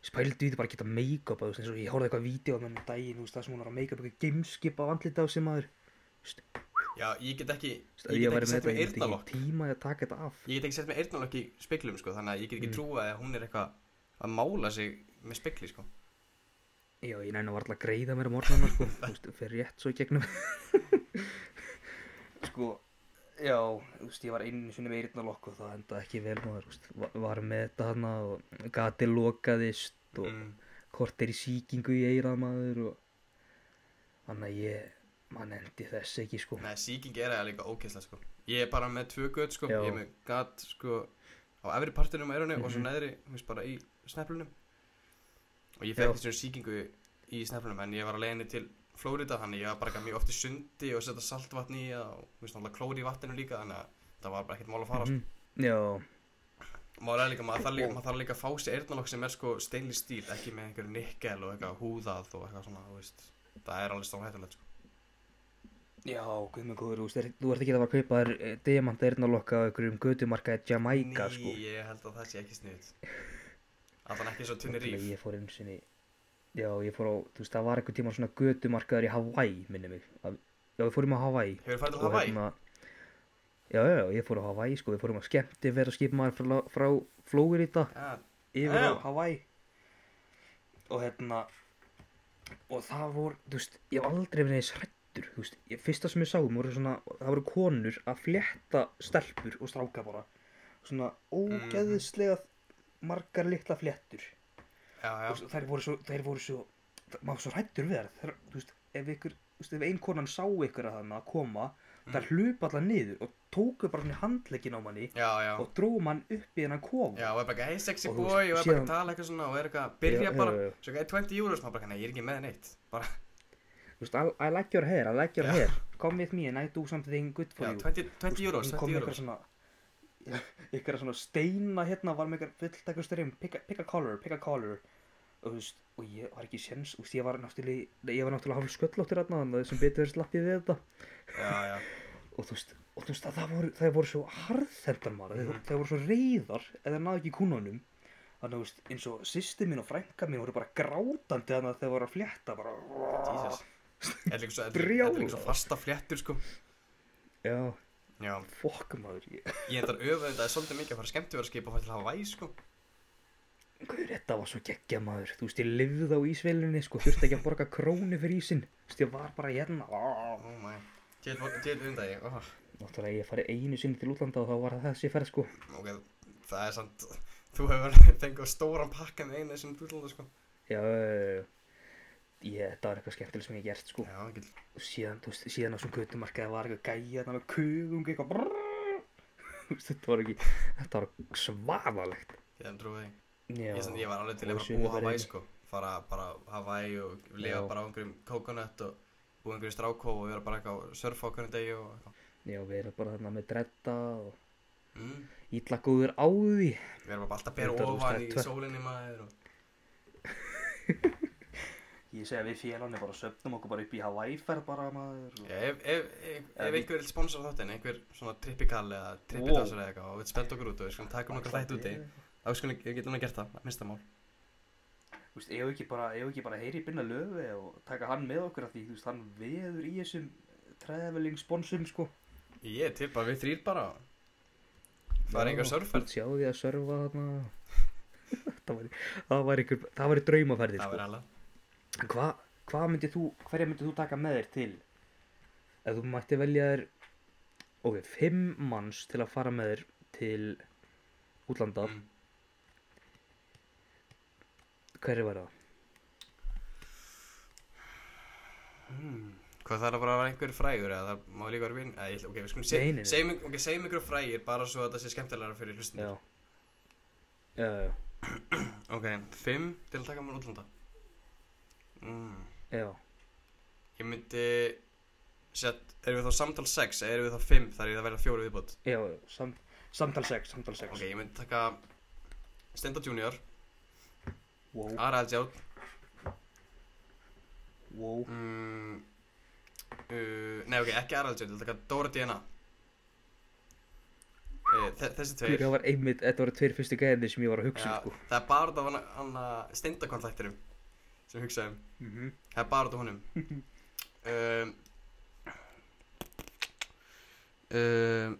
S2: spældi í því bara að geta make-up þú veist, eins og ég horfði eitthvað vídeo á mér um daginn, þú veist, það sem hún var að make-up eitthvað gameskip á andlita á sem maður
S1: Já, ég get ekki,
S2: Þú veist, ef
S1: ég
S2: ég
S1: get ekki
S2: væri með
S1: sett
S2: þetta,
S1: með
S2: ég myndi ekki
S1: eyrnalokk.
S2: tíma í að taka þetta af
S1: Ég get ekki sett með eyrnalokk í speklum, sko, þannig að ég get ekki
S2: Mm.
S1: trúið að hún er eitthvað að mála sig með spekli, sko.
S2: Já, ég næna varla að greiða mér á morgnana, sko, þú veist, fer rétt svo í gegnum. sko, já, þú veist, ég var einu sinni með eyrnalokk og það endaði ekki vel maður, þú veist, Va- var með þetta hana og gati lokaðist og
S1: Mm.
S2: kort er í síkingu í eyrað maður og þannig að ég, mann endi þess ekki, sko.
S1: Nei, sýking er eða líka ókesslega sko Ég er bara með tvö gött sko
S2: Já.
S1: Ég er með gatt sko á efri partinum á eyrunni og svo
S2: Mhm.
S1: neðri, þú veist, bara í sneflunum Og ég
S2: Já.
S1: fekk þessum sýkingu í sneflunum en ég var að leiðinni til Flórida þannig ég var bara ekki mjög oft í sundi og setja saltvatn í það og, þú veist, náttúrulega klóri í vatninu líka þannig að það var bara ekkert mál að fara mm
S2: Mhm. Já,
S1: -hmm. Mál er líka, maður þarf líka, maður þarf líka að fá sér eyrnalokk sem er sko steinli stíl ekki með einhverju nikkel og eitthvað húðað og eitthvað svona, þú veist Það er alveg stórhættulegt sko
S2: já, guð með góður, þú veist, er- þú ert ekki að fara að kaupa þér eh, demant eyrnalokka á einhverjum gödumarkaði Jamaica,
S1: Ný,
S2: sko.
S1: ég held að það sé ekki sniðt Allan ekki svo tunni
S2: Þannig
S1: ríf
S2: að ég fór einu sinni Já, ég fór á, þú veist, það var einhvern tíma svona götumarkaður í Hawaii, minni mig Að- Já, við fórum á Hawaii
S1: Hefur farið til
S2: og
S1: Hawaii?
S2: hérna- Já, já, já, ég fór á Hawaii, sko, við fórum að skemmti vera skipmaður frá, frá Flóirita
S1: Ja,
S2: yfir
S1: Já.
S2: á Hawaii Og hérna Og það vor, þú veist, ég hef aldrei verið eins hrættur, þú veist ég, Fyrsta sem ég sáum voru svona, það voru konur að flétta stelpur og stráka bara Svona ógeðislega margar litla fléttur
S1: já, já,
S2: Og svo- þær voru svo, þær voru svo það- maður var svo hrættur við þær, þær þú veist, ef ykkur, þú veist, ef ein konan sá ykkur að þannig að koma,
S1: Mm.
S2: þær hlupa allar niður og tóku bara svona handlegin á manni
S1: já, já
S2: og dróðum hann upp í hennan kofa
S1: Já, og er bara eitthvað, hey sexy
S2: Og þú
S1: boy, og er bara
S2: síðan-
S1: að tala eitthvað svona og er eitthvað að
S2: Já,
S1: byrja
S2: já,
S1: bara
S2: já.
S1: Svo eitthvað, hey, 20 euros, maður bara, nei, ég er ekki með neitt Bara,
S2: þú veist, I, I like your hair, I like your
S1: Já.
S2: hair come with me and I do something good for
S1: já,
S2: you
S1: 20, 20 euros,
S2: Hún
S1: 20
S2: kom ykkur
S1: euros
S2: svona ykkur svona steina hérna var með ykkur fullt eitthvað styrjum pick a, pick a color, pick a color og þú veist, og ég var ekki séns og ég var náttúrulega, nei, ég var náttúrulega hálf sköllóttur hérna, þannig að sem betur slappið við þetta
S1: Já, já,
S2: og þú veist, og þú veist að það voru, það voru svo harðhendar maður, mm.
S1: Mhm.
S2: það voru svo reyðar eða þær náðu ekki kúnunum þannig að þú veist, eins og sýsti mín og frænka mín voru bara grátandi þannig að þau voru að flétta bara
S1: Jesus Þetta er líka svo, þetta er-
S2: Brjálað.
S1: þetta er líka svo fasta fléttur, sko
S2: Já,
S1: Já,
S2: fokk maður ég,
S1: ég endar öfum þetta svolítið mikið að fara skemmtiverðarskip og fara til Hawaii, sko
S2: Guður, þetta var svo geggja maður Þú veist, ég lifði á ísveilunni, sko, þurfti ekki að borga krónu fyrir ísin Þú veist, ég var bara hérna
S1: Oh my, til undan ég, oh
S2: Náttúrulega, ég farið einu sinni til útlanda og þá var það þessi ferð, sko
S1: Ok, það er samt, þú hefur fengið stóran pakkan einu sem þú ætlaði, sko
S2: Já, ég, þetta var eitthvað skemmtileg sem ég hef gert, sko
S1: Já, ekki
S2: og síðan, þú veist, síðan á svona göttumarkaði var eitthvað gæja þarna með kuðung eitthvað brrrr. Þú veist, þetta var ekki, þetta var svaðalegt.
S1: Ég þannig trúið því
S2: Já,
S1: Ég, sem, ég var alveg til
S2: Og
S1: að bara
S2: sumir
S1: búa
S2: bara
S1: Hawaii
S2: inni.
S1: sko Fara bara á Hawaii og lifa
S2: Já.
S1: bara á einhverjum coconut og búa í einhverjum strákó og vera bara eitthvað að surfa á hverjum degi og eitthvað
S2: já, við erum bara þarna með dredda og
S1: mm.
S2: ítla góður á því.
S1: Við erum bara alltaf að bera
S2: Þetta er
S1: ofan í
S2: ógeðslegt.
S1: sólinni maður og...
S2: Ég segi að við félagarnir bara söfnum okkur bara upp í Hawaii-ferð bara maður.
S1: Já, ef, ef, ef,
S2: Já,
S1: ef
S2: við-
S1: einhver vil sponsor þáttinn, einhver svona trippikall eða trippidansar eða eitthvað og við spenda okkur út og við skulum taka nokkar þætt úti þá skulum við getum að gert það, minnsta mál
S2: Þú veist, ef ekki bara, ef ekki bara heyri í binna löfi og taka hann með okkur að því, þú veist, hann veður í þessum traveling sponsum, sko.
S1: Ég tippa við þrýr bara fara
S2: Já,
S1: einhver surfferð
S2: Sjá því að surfa þarna. það var, það var einhver, það var draumaferðir,
S1: Það
S2: sko.
S1: verður alla
S2: En Hva, hvað myndir þú, hverja myndir þú taka með þér til? Ef þú mætti velja þér, ok, fimm manns til að fara með þér til útlanda,
S1: Mm.
S2: hverju var það?
S1: Hmm. Hvað þarf að bara að vera einhver frægur eða það má líka vera vinn? Eða, ég ætla- ok, við skulum
S2: Nei, nei,
S1: seg-
S2: nei.
S1: segjum ykk- ok, segjum ykkur frægir bara svo að það sé skemmtilegra fyrir
S2: Já.
S1: hlustundur.
S2: Já, já,
S1: Ok, fimm til að taka mér útlanda. Mm.
S2: já.
S1: Ég myndi Sett, erum við þá samtal 6 eða erum við þá 5 þar er það að verða fjóru viðbútt
S2: Já, já, sam, samtal 6, samtal 6
S1: Ok, ég myndi taka Stenda Junior,
S2: Wow,
S1: Ara Eldjátt
S2: wow
S1: mm, uh, Nei, ok, ekki Ara Eldjátt, ég myndi taka Dóra DNA Eh, þe- Þessi
S2: Guður,
S1: tveir
S2: það var einmitt, þetta voru tveir fyrstu gæðinni sem ég var að hugsa um,
S1: Já,
S2: sko
S1: Það er bara út af hann- hann að Stenda kontaktirum sem ég hugsaði um
S2: mm -hmm.
S1: Það er bara út af honum um, um,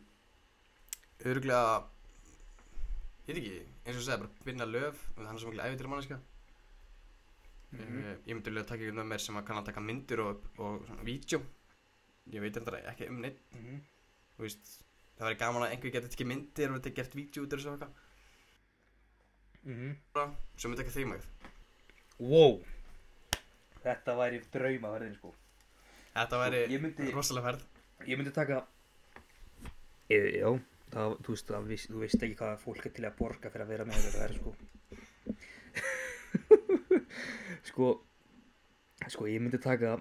S1: Öruglega Ég veit ekki, eins og ég segi bara vinna löf Hann er svo mikið æfitir manneska
S2: Mhm.
S1: mm Ég myndi alveg að taka ykkur með mér sem að kann að taka myndir og, og svona vídeo Ég veit þetta ekki um neitt
S2: mhm,
S1: þú veist, Það væri gaman að einhver geti tekið myndir og þetta gert vídeo út af þessu og eitthvað
S2: mhm.
S1: Svo myndi ekki þeimægð
S2: Wow Þetta væri draumaverðin, sko
S1: Þetta væri
S2: Ég myndi-
S1: rosalega ferð
S2: Ég myndi taka e, Já, það, þú veist, það, veist, þú veist ekki hvað fólk er til að borga fyrir að vera með þetta verð, sko Sko Sko, ég myndi taka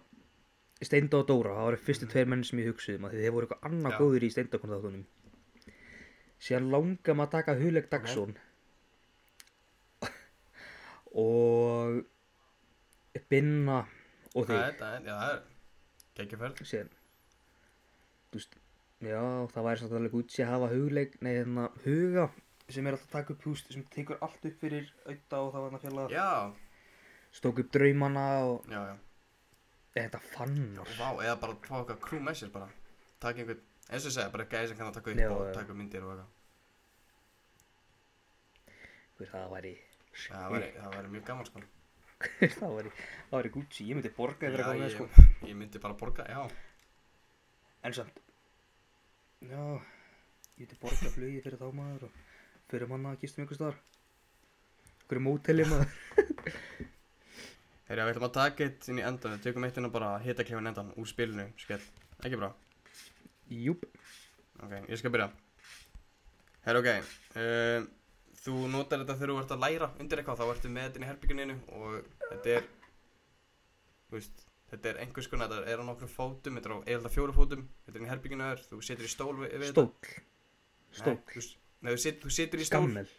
S2: Steinda og Dóra, það voru fyrstu tveir menn sem ég hugsaði um að því þeir voru eitthvað annað
S1: Já.
S2: góður í Steinda konar þáttunum Síðan langar maður að taka Huleg Dagsson og Binna og
S1: Það
S2: þig
S1: er, það er, já, það er Gekkjaferð
S2: síðan þú veist, já, það væri samt alveg Gucci að hafa hugleik, nei hérna huga sem er alltaf að taka upp húst sem tekur allt upp fyrir auða og það var hann að fjalla
S1: Já,
S2: stók upp draumana og
S1: já, já
S2: þetta fannar
S1: Vá, eða bara fá eitthvað crew með sér bara Takk einhvern, eins og ég segja, bara gæði sem kann að taka upp
S2: Já,
S1: og
S2: já.
S1: taka myndir og eitthvað
S2: Guð, það væri
S1: Það væri, það væri mjög gaman sko
S2: það væri, það væri Gucci, ég myndi borga yfir að koma
S1: Já,
S2: með sko
S1: ég, ég myndi bara borga, já
S2: en samt já, ég myndi borga flugið fyrir þá maður og fyrir manna að gistum einhvers staðar hverju móteli maður
S1: Herri, já, við ætlum að taka eitt inn í endan Við tökum eitt inn og bara hita klefin endan úr spilinu, skell Ekki bra,
S2: júp,
S1: ok, ég skal byrja Herri, ok um, Þú notar þetta þegar þú ert að læra undir eitthvað Þá ertu með þetta inn í herbygguninu og þetta er Þú veist, þetta er einhvers konar, þetta er á nokkrum fótum, þetta er á eða fjóru fótum, þetta er inn í herbygginu þar, þú setur í stól við, við þetta.
S2: stóll stóll,
S1: Nei, þú, s- nei, þú, sit, þú situr í stól
S2: skammel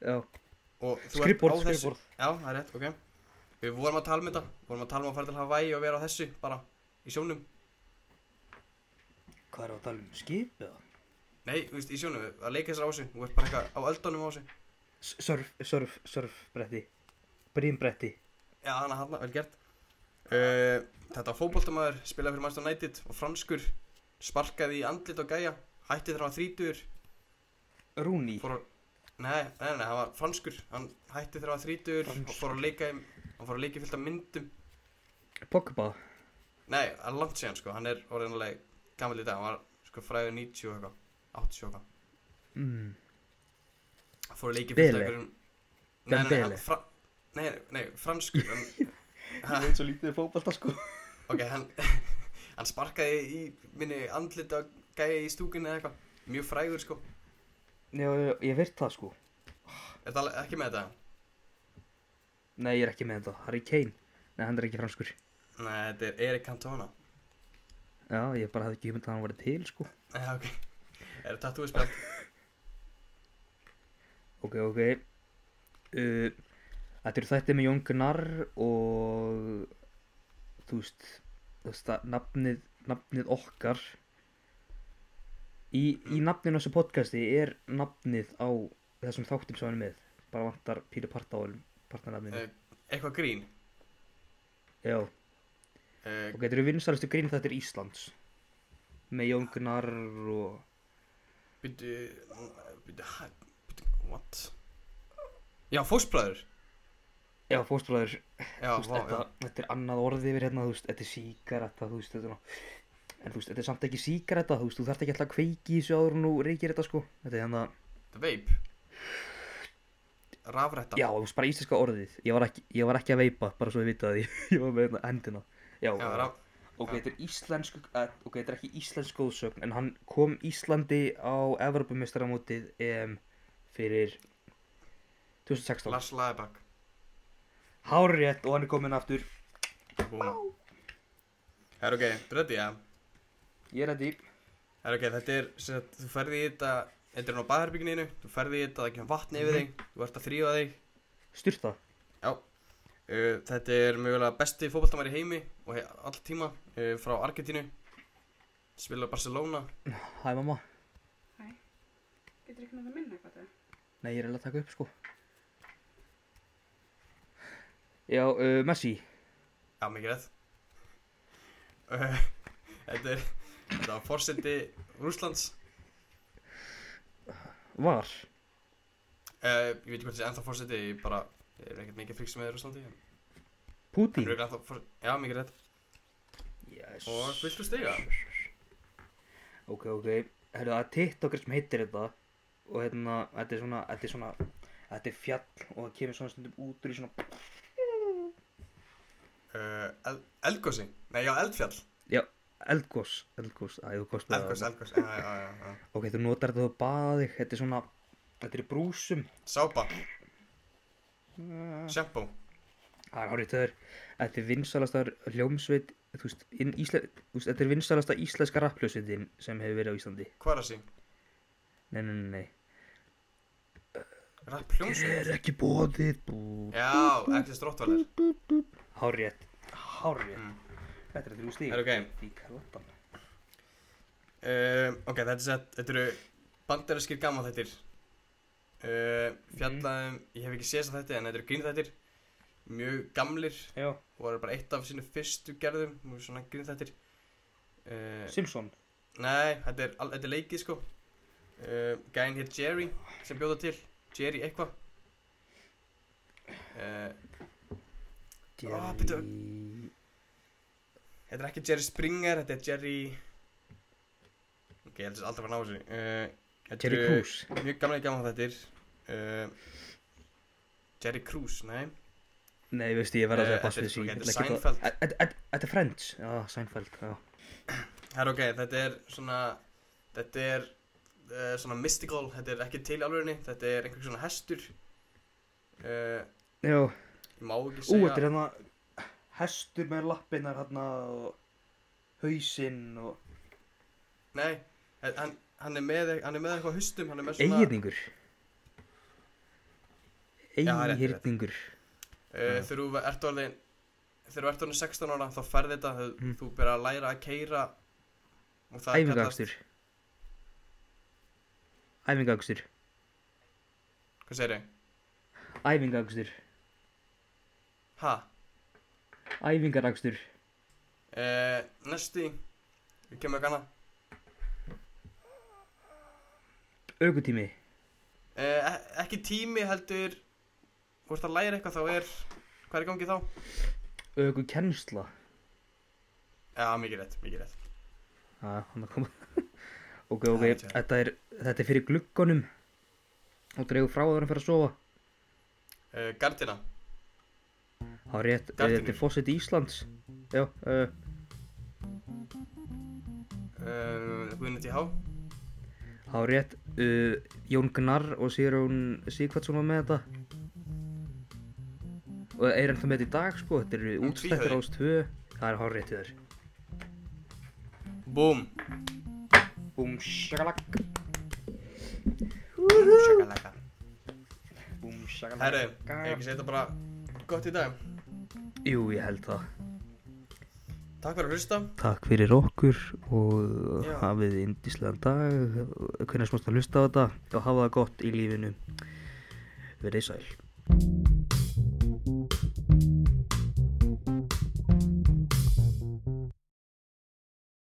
S2: já,
S1: og þú ert á þessu-
S2: skrifborð, skrifborð
S1: Já, það er rétt, ok Við vorum að tala um þetta Vorum að tala um að fara til Hawaii og vera á þessu Bara í sjónum
S2: Hvað er að tala um? Skip eða?
S1: Nei, þú veist, í sjónum Að leika þessar á þessu Þú ert bara eitthvað á öldunum á þessu
S2: Surf, surf, surfbretti Brímbretti
S1: Já, hana hann, vel gert uh, Þetta var fótboltamaður Spilaði fyrir Manchester United Og franskur Sparkaði í andlit og gæja Hætti þegar hann var þrítur
S2: Rúni
S1: Fór að Nei, nei, nei, hann var franskur Hann hætti þegar hann var þrítur Og fór að leika í Hann fór að leika í fylgta myndum
S2: Pogba
S1: Nei, það er langt síðan sko, hann er orðinlega gammal í dag, hann var sko fræður 90 og eitthvað, 80 og eitthvað.
S2: mm.
S1: Hann fór að leikið
S2: Dele?
S1: einhverjum... Nei, nei, nei,
S2: Dembele?
S1: hann fra... nei, nei, franskur, hann...
S2: Ég veit svo lítið fókbalta sko
S1: ok, hann, hann sparkaði í minni andlita gæja í stúkunni eða eitthvað, mjög frægur sko.
S2: Já, já, já, ég virt það sko
S1: Er það ekki með þetta?
S2: Nei, ég er ekki með þetta Harry Kane Nei, hann er ekki franskur
S1: Nei, þetta er Erik Cantona.
S2: Já, ég bara hafði ekki hugmynd að hann var til sko
S1: Nei, Eh, ok, er það tattúið spjöld?
S2: Ok, ok uh, Þetta eru þættið með Jón Gnarr og þú veist, þú veist að nafnið, nafnið okkar í, í nafninu á þessu podcasti er nafnið á þessum þáttum sem hann er með bara vantar pílu partáðum partanafninu
S1: Eh. Eitthvað grín.
S2: Já,
S1: Uh,
S2: ok, þetta eru vinsælustu grín þetta er Íslands með Jón Gnarr og
S1: Byttu, byttu, byttu, what? Já, fósbræður.
S2: Já, fóstbræður
S1: Já,
S2: þú veist,
S1: vá,
S2: þetta,
S1: já.
S2: þetta er annað orðið yfir hérna, þú veist, þetta er síkaretta, þú veist, þetta er ná... En þú veist, þetta er samt ekki síkaretta, þú veist, þú þarft ekki alltaf að kveiki í þessu áður en þú reykir þetta, sko. Þetta er hérna,
S1: Þetta veip Rafrætta
S2: já, þú veist, bara íslenska orðið. Ég var ekki, ég var ekki að veipa, bara svo ég vita að ég, ég var með hérna hendina. Já,
S1: já, raf,
S2: ok, þetta er íslensku, eh, ok, þetta er ekki íslensk góðsögn, en hann kom Íslandi á Evropamestaramótið um, fyrir 2016.
S1: Lars Læðabak
S2: Hárrétt og hann er komin aftur.
S1: Búna Það er ok, ready, já
S2: Ég er ready.
S1: Það er ok, þetta er, sem sagt, þú ferði í þetta, þetta er nú á baðherbygginu, þú ferði í þetta, það kemur vatni yfir þig, þú ert að þrýfa þig.
S2: Styrta.
S1: Uh, þetta er mögulega besti fótballtamæri heimi og he all tíma uh, frá Argentínu, spila Barcelona.
S2: Hæ mamma.
S3: Hæ? Getur ekki náttúrulega minna eitthvað það?
S2: Nei, ég er alveg að taka upp sko. Já, uh, Messi.
S1: Já, mikið rétt. Uh, þetta er, þetta var fórseti Rúslands,
S2: Var.
S1: uh, ég veit ekki hvort þessi ennþá fórseti, ég bara, ég er ekkert mikið fríksum með Rúslandi. en- en
S2: Putin.
S1: örugglega ennþá forseti- Já, mikið rétt.
S2: Yes.
S1: Og viltu stiga?
S2: Ok, ok. Herru, það er TikToker sem heitir þetta. Og hérna, þetta er svona, þetta er svona, þetta er fjall og það kemur svona stundum út úr í svona,
S1: Uh, el Elgósi, nei já, Eldfjall.
S2: já, eldgós, eldgós, að þú kostaði
S1: Elgós, Elgós, já, já, já, já.
S2: Ok, þú notar þetta og baða þig, þetta er svona, þetta er í brúsum.
S1: Sápa,
S2: Það
S1: sjampó,
S2: er hárið þaður, þetta er vinsalasta hljómsveit, þú veist, inn Ísla, þú veist, þetta er vinsalasta íslenska rappljósveitin sem hefur verið á Íslandi.
S1: kvarasi,
S2: Nei, nei, nei, nei.
S1: rapp
S2: Þér
S1: hljómsveit.
S2: er ekki bóðið, bú.
S1: Já, ekki stróttvalir.
S2: Hárið, hárið.
S1: Mm.
S2: Þetta er þrjú stík.
S1: Er ok.
S2: Í kalottan.
S1: Uh, ok, þetta er sett, þetta eru bandarinskir gaman þettir. Uh, fjallaðum, ég hef ekki séð þess að þetta, en þetta eru grín þettir. Mjög gamlir,
S2: Já,
S1: og eru bara eitt af sínu fyrstu gerðum, mjög svona grín þettir. Uh,
S2: Simpson.
S1: nei, þetta er, al- þetta er leikið sko. Uh, gæinn hér Jerry, sem bjóða til, Jerry eitthvað. Uh, Ah, bíddu.
S2: Jerry-
S1: Þetta er ekki Jerry Springer, þetta er Jerry... Ok, ég held þess aldrei að ná þessu. Uh, þetta
S2: Jerry
S1: eru
S2: Cruz.
S1: Mjög gamlega gaman þetta er. Uh, Jerry Cruz, nei.
S2: Nei, veistu, ég verða að
S1: Eh,
S2: segja pass
S1: þetta er-
S2: við þessu.
S1: ok,
S2: ég
S1: þetta er
S2: ætla ekki að-
S1: Seinfeld.
S2: Æ, Þetta þetta- þetta er Friends. Já, Seinfeld, já.
S1: Það er ok, þetta er svona... Þetta er uh, svona mystical, þetta er ekki til í alvegurinni. Þetta er einhver svona hestur. Uh,
S2: Já.
S1: ég má ekki
S2: Ú,
S1: segja...
S2: þetta er hérna hestur með lappinnar hérna og hausinn og...
S1: Nei, he- hann, hann, er með, hann er með eitthvað á haustum, hann er með svona...
S2: Eigirningur.
S1: Já, það er rétt,
S2: Eigirningur.
S1: Uh,
S2: Já.
S1: þegar þú ert orðin þegar þú ert orðin 16 ára þá ferði þetta þú,
S2: Mm.
S1: þú byrjar að læra að keira og það er kallast-
S2: Æfingakstur. Æfingakstur.
S1: hvað segir ég?
S2: Æfingakstur.
S1: ha?
S2: Æfingarakstur.
S1: Uh, næsti við kemur ekki annað
S2: Ökutími.
S1: uh, e- ekki tími heldur þú ert að læra eitthvað þá er hvað er í gangi þá?
S2: Ökukennsla.
S1: já, mikið rétt, mikið rétt
S2: Já, hann er komið. ok,
S1: Það er
S2: ok.
S1: rétt, já.
S2: Þetta er, þetta er fyrir gluggunum. Og dreigur frá það hann fyrir að sofa.
S1: uh, gardina,
S2: Það er rétt.
S1: Gardínur.
S2: Þetta er fósitt í Íslands. Já, uh,
S1: uh, Guðinu T.H.
S2: Það var rétt, uh, Jón Gnarr og Sýrjón Sigvartsson var með þetta og er ennþá með þetta í dag sko, þetta eru
S1: Hún
S2: útstættir
S1: tvíhöfði.
S2: ás 2 það er hár rétt í þér
S1: búm
S2: Búm shakalak,
S1: sjökkalega
S2: búm
S1: herru,
S2: shakalak
S1: ég ekki segja þetta bara gott í dag
S2: Jú, ég held það
S1: takk fyrir að hlusta
S2: Takk fyrir okkur og
S1: Já.
S2: hafið indislegan dag hvernig smást að hlusta á þetta og hafa það gott í lífinu Verið sæl